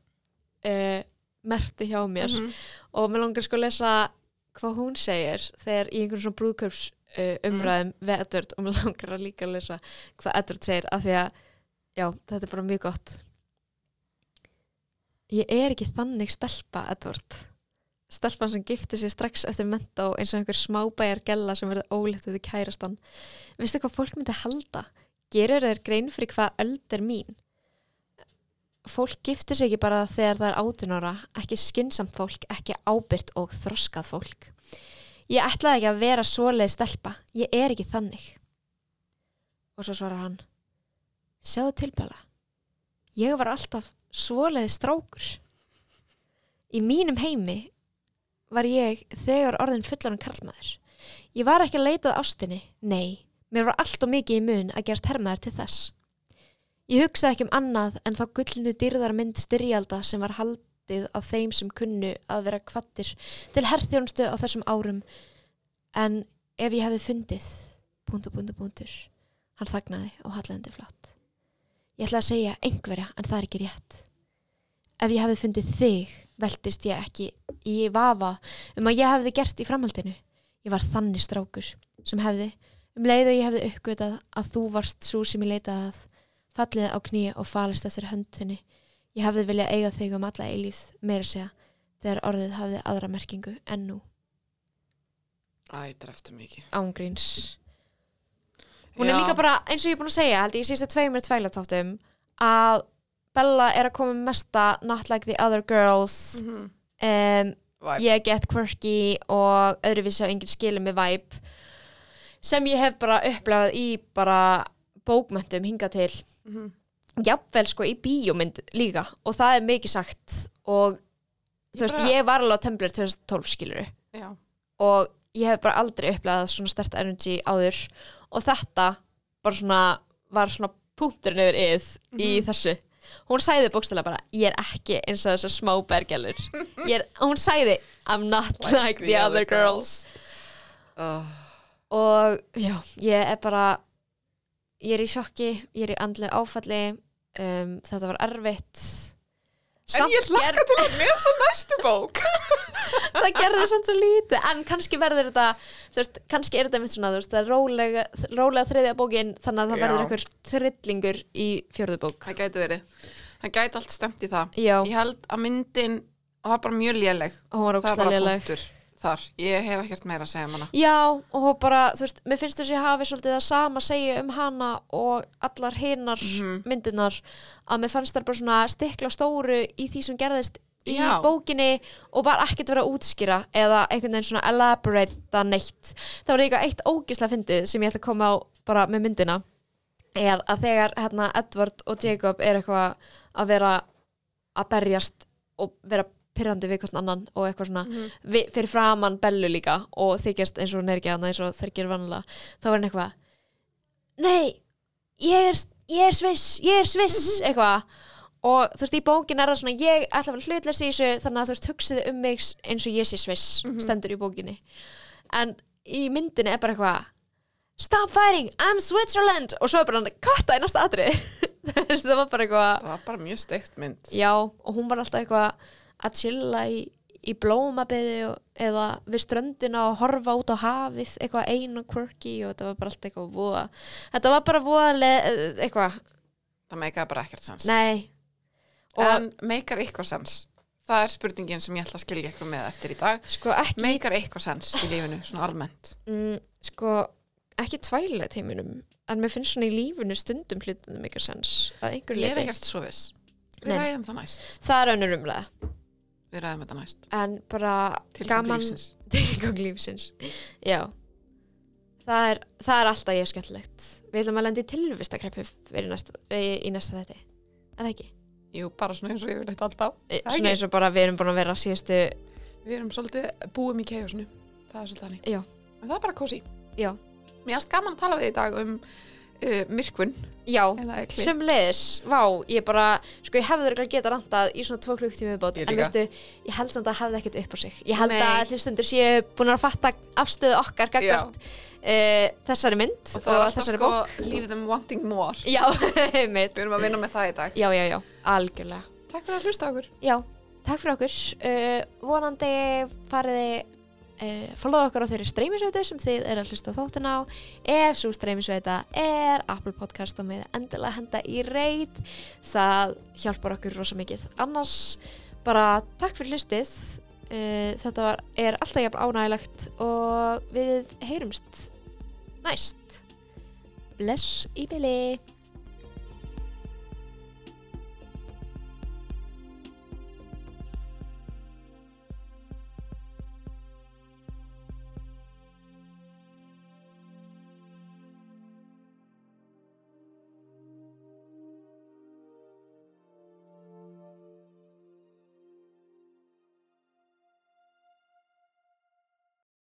Speaker 1: uh, merti hjá mér
Speaker 2: Mhm.
Speaker 1: og mér langar sko að lesa hvað hún segir þegar í einhvern svona brúðkaups uh, umræðum við Edward og mér langar að líka að lesa hvað Edward segir af því að, já, þetta er bara mjög gott Ég er ekki þannig stelpa, Edward Stelpan sem gifti sér strax eftir mentó eins og einhver smábæjar gella sem verði ólétt við kærastan Veistu hvað fólk myndi halda? Gerir þeir grein fyrir hvað öld er mín? fólk giftir sig ekki bara þegar það er 18 ára, ekki skinsamt fólk, ekki ábyrt og þroskað fólk. Ég ætlaði ekki að vera svoleið stelpa, ég er ekki þannig. Og svo svarar hann, sjáðu tilbæla, ég var alltaf svoleið strákur. Í mínum heimi var ég þegar orðin fullan um karlmaður. Ég var ekki að leitað ástinni, nei, mér var allt og mikið í mun að gerast hermaður til þess. Ég hugsaði ekki um annað en þá gullnu dyrðarmynd styrjalda sem var haldið á þeim sem kunnu að vera kvattir til herþjónustu á þessum árum en ef ég hefði fundið punktu, punktu, punktur hann þagnaði og hallandi flatt Ég ætla að segja einhverja en það er ekki rétt Ef ég hefði fundið þig veltist ég ekki í vafa um að ég hefði gert í framhaldinu Ég var þannig strákur sem hefði um leið og ég hefði uppgötað að þú varst svo sem ég leitaði að fallið á kníi og falist eftir höndinni. Ég hafði viljað eiga þig um alla eilífð, meira að segja, þegar orðið hafði aðra merkingu en nú,
Speaker 2: Æ, dreftu mikið.
Speaker 1: ángríns. Hún er
Speaker 2: Já.
Speaker 1: líka bara, eins og ég er búin að segja, held ég í síðustu tveimur tveilatáttum, að Bella er að koma með mesta Not Like the Other Girls,
Speaker 2: Mhm.
Speaker 1: um,
Speaker 2: Væp.
Speaker 1: ég get quirky og öðruvísi á enginn skilum með væp sem ég hef bara upplegað í bara bókmöntum hinga til
Speaker 2: Mhm.
Speaker 1: jafnvel sko í bíómynd líka og það er mikið sagt og þú veist,
Speaker 2: bara-
Speaker 1: ég var alveg á Tumblr 2012 skilur
Speaker 2: Já.
Speaker 1: og ég hef bara aldrei upplegað svona stert energy áður og þetta bara svona var svona punkturinn yfir yð í þessu hún sæði bókstælega bara ég er ekki eins og þessar smá bergjallur Ég er- hún sæði I'm not like, the, other girls.
Speaker 2: Oh.
Speaker 1: og já, ég er bara ég er í sjokki, ég er í andlu áfalli um, þetta var erfitt
Speaker 2: En ég
Speaker 1: ger-
Speaker 2: hlakka til að lesa næstu bók.
Speaker 1: það gerði samt svo lítið en kannski verður þetta þú veist, kannski er þetta mitt svona þú veist, það er rólega, rólega þriðja bókin þannig að það verður
Speaker 2: Já.
Speaker 1: einhver trillingur í fjörðu bók
Speaker 2: Það gæti verið. Það gæti allt stemt í það.
Speaker 1: já,
Speaker 2: Ég held að myndin var bara mjög léleg.
Speaker 1: hún var
Speaker 2: Það er bara
Speaker 1: ógstlega léleg
Speaker 2: punktur þar. Ég hef ekkert meira að segja um hana.
Speaker 1: já, og hún bara, þú veist, mér finnst þess að ég hafi svolítið það sama að segja um hana og allar hinar
Speaker 2: Mhm.
Speaker 1: myndirnar að mér fannst það bara svona stikla á stóru í því sem gerðist í
Speaker 2: Já.
Speaker 1: bókinni og bara ekkert verið að útskýra eða einhvern veginn svona elaborate neitt. Það var líka eitt ógislega fyndið sem ég ætla að koma á bara með myndina er að þegar hérna, Edward og Jacob er eitthvað að vera að berjast og vera pyrrandi við hvort annan og eitthvað svona
Speaker 2: Mhm.
Speaker 1: við, fyrir framann bellu líka og þykjast eins og hún er ekki annað eins og þeir gerir vanlega þá er hann eitthvað Nei, ég er, ég er sviss, ég er sviss eitthvað og þú veist í bókin er það svona ég ætla að vera hlutleysi í þessu þannig að þú veist hugsiði um mig eins og ég sé sviss
Speaker 2: Mhm.
Speaker 1: stendur í bókinni en í myndinni er bara eitthvað Stop fighting, I'm Switzerland og svo er bara hann katta í næsta atrið (laughs) það var bara eitthvað
Speaker 2: Það var bara mjög steikt mynd.
Speaker 1: já og hún var alltaf eitthvað að chilla í, í blómabeði og, eða við ströndina og horfa út á hafið eitthvað ein og quirky og þetta var bara alltaf eitthvað voða þetta var bara voða le- eitthvað,
Speaker 2: Það meikaði bara ekkert sens.
Speaker 1: nei og
Speaker 2: En meikar eitthvað sens. Það er spurningin sem ég ætla að skilja eitthvað með eftir í dag.
Speaker 1: sko ekki
Speaker 2: Meikar eitthvað sens í lífinu, svona almennt.
Speaker 1: mm, sko, ekki tvælega tíminum en mér finnst svona í lífinu stundum hlutunum ykkar sens að einhver
Speaker 2: Ég er
Speaker 1: leiti
Speaker 2: ekkert svo viss. Við
Speaker 1: Nei.
Speaker 2: ræðum það næst.
Speaker 1: það er önnur umlega
Speaker 2: Við ræðum þetta næst.
Speaker 1: en bara
Speaker 2: Tilgang
Speaker 1: gaman
Speaker 2: lífsins.
Speaker 1: (laughs) tilgang lífsins já það er, það er alltaf ég skemmtilegt við ætlum að lenda í tilvistakreppu fyrir næsta, í, í næsta þetta er það ekki?
Speaker 2: Jú, bara svona eins og yfirleitt alltaf.
Speaker 1: E,
Speaker 2: Það
Speaker 1: svona
Speaker 2: ekki.
Speaker 1: eins og bara við erum búin að vera á síðustu
Speaker 2: Við erum svolítið búum í keiðusinu. Það er svolítið hannig.
Speaker 1: Já.
Speaker 2: En það er bara kósi.
Speaker 1: já,
Speaker 2: Mér erst gaman að tala við í dag um uh, myrkvun.
Speaker 1: já
Speaker 2: Eða eclipse.
Speaker 1: sem leiðis, vá, ég bara sko ég hefði örgulega geta rantað í svona tvo klukk tími bót,
Speaker 2: Ég
Speaker 1: en
Speaker 2: líka.
Speaker 1: veistu, ég held samt að það hefði ekkert upp á sig ég held
Speaker 2: Nei.
Speaker 1: að hlustundur séu búin að fatta afstöðu okkar gagvart uh, þessari mynd
Speaker 2: Og það er alltaf
Speaker 1: þessari
Speaker 2: sko leave them wanting more.
Speaker 1: bók já, (laughs) einmitt.
Speaker 2: Við erum að vinna með það í dag.
Speaker 1: já, já, já, algjörlega
Speaker 2: Takk fyrir að hlusta á okkur.
Speaker 1: já, takk fyrir okkur uh, vonandi fariði uh, follow okkur á þeirri streymisveitu sem þið eru að hlusta á þáttin á ef svo streymisveita er Apple Podcast og með endilega henda í reit það hjálpar okkur rosa mikið annars bara takk fyrir hlustið uh, þetta var, er alltaf jafn ánægilegt og við heyrumst næst bless í byli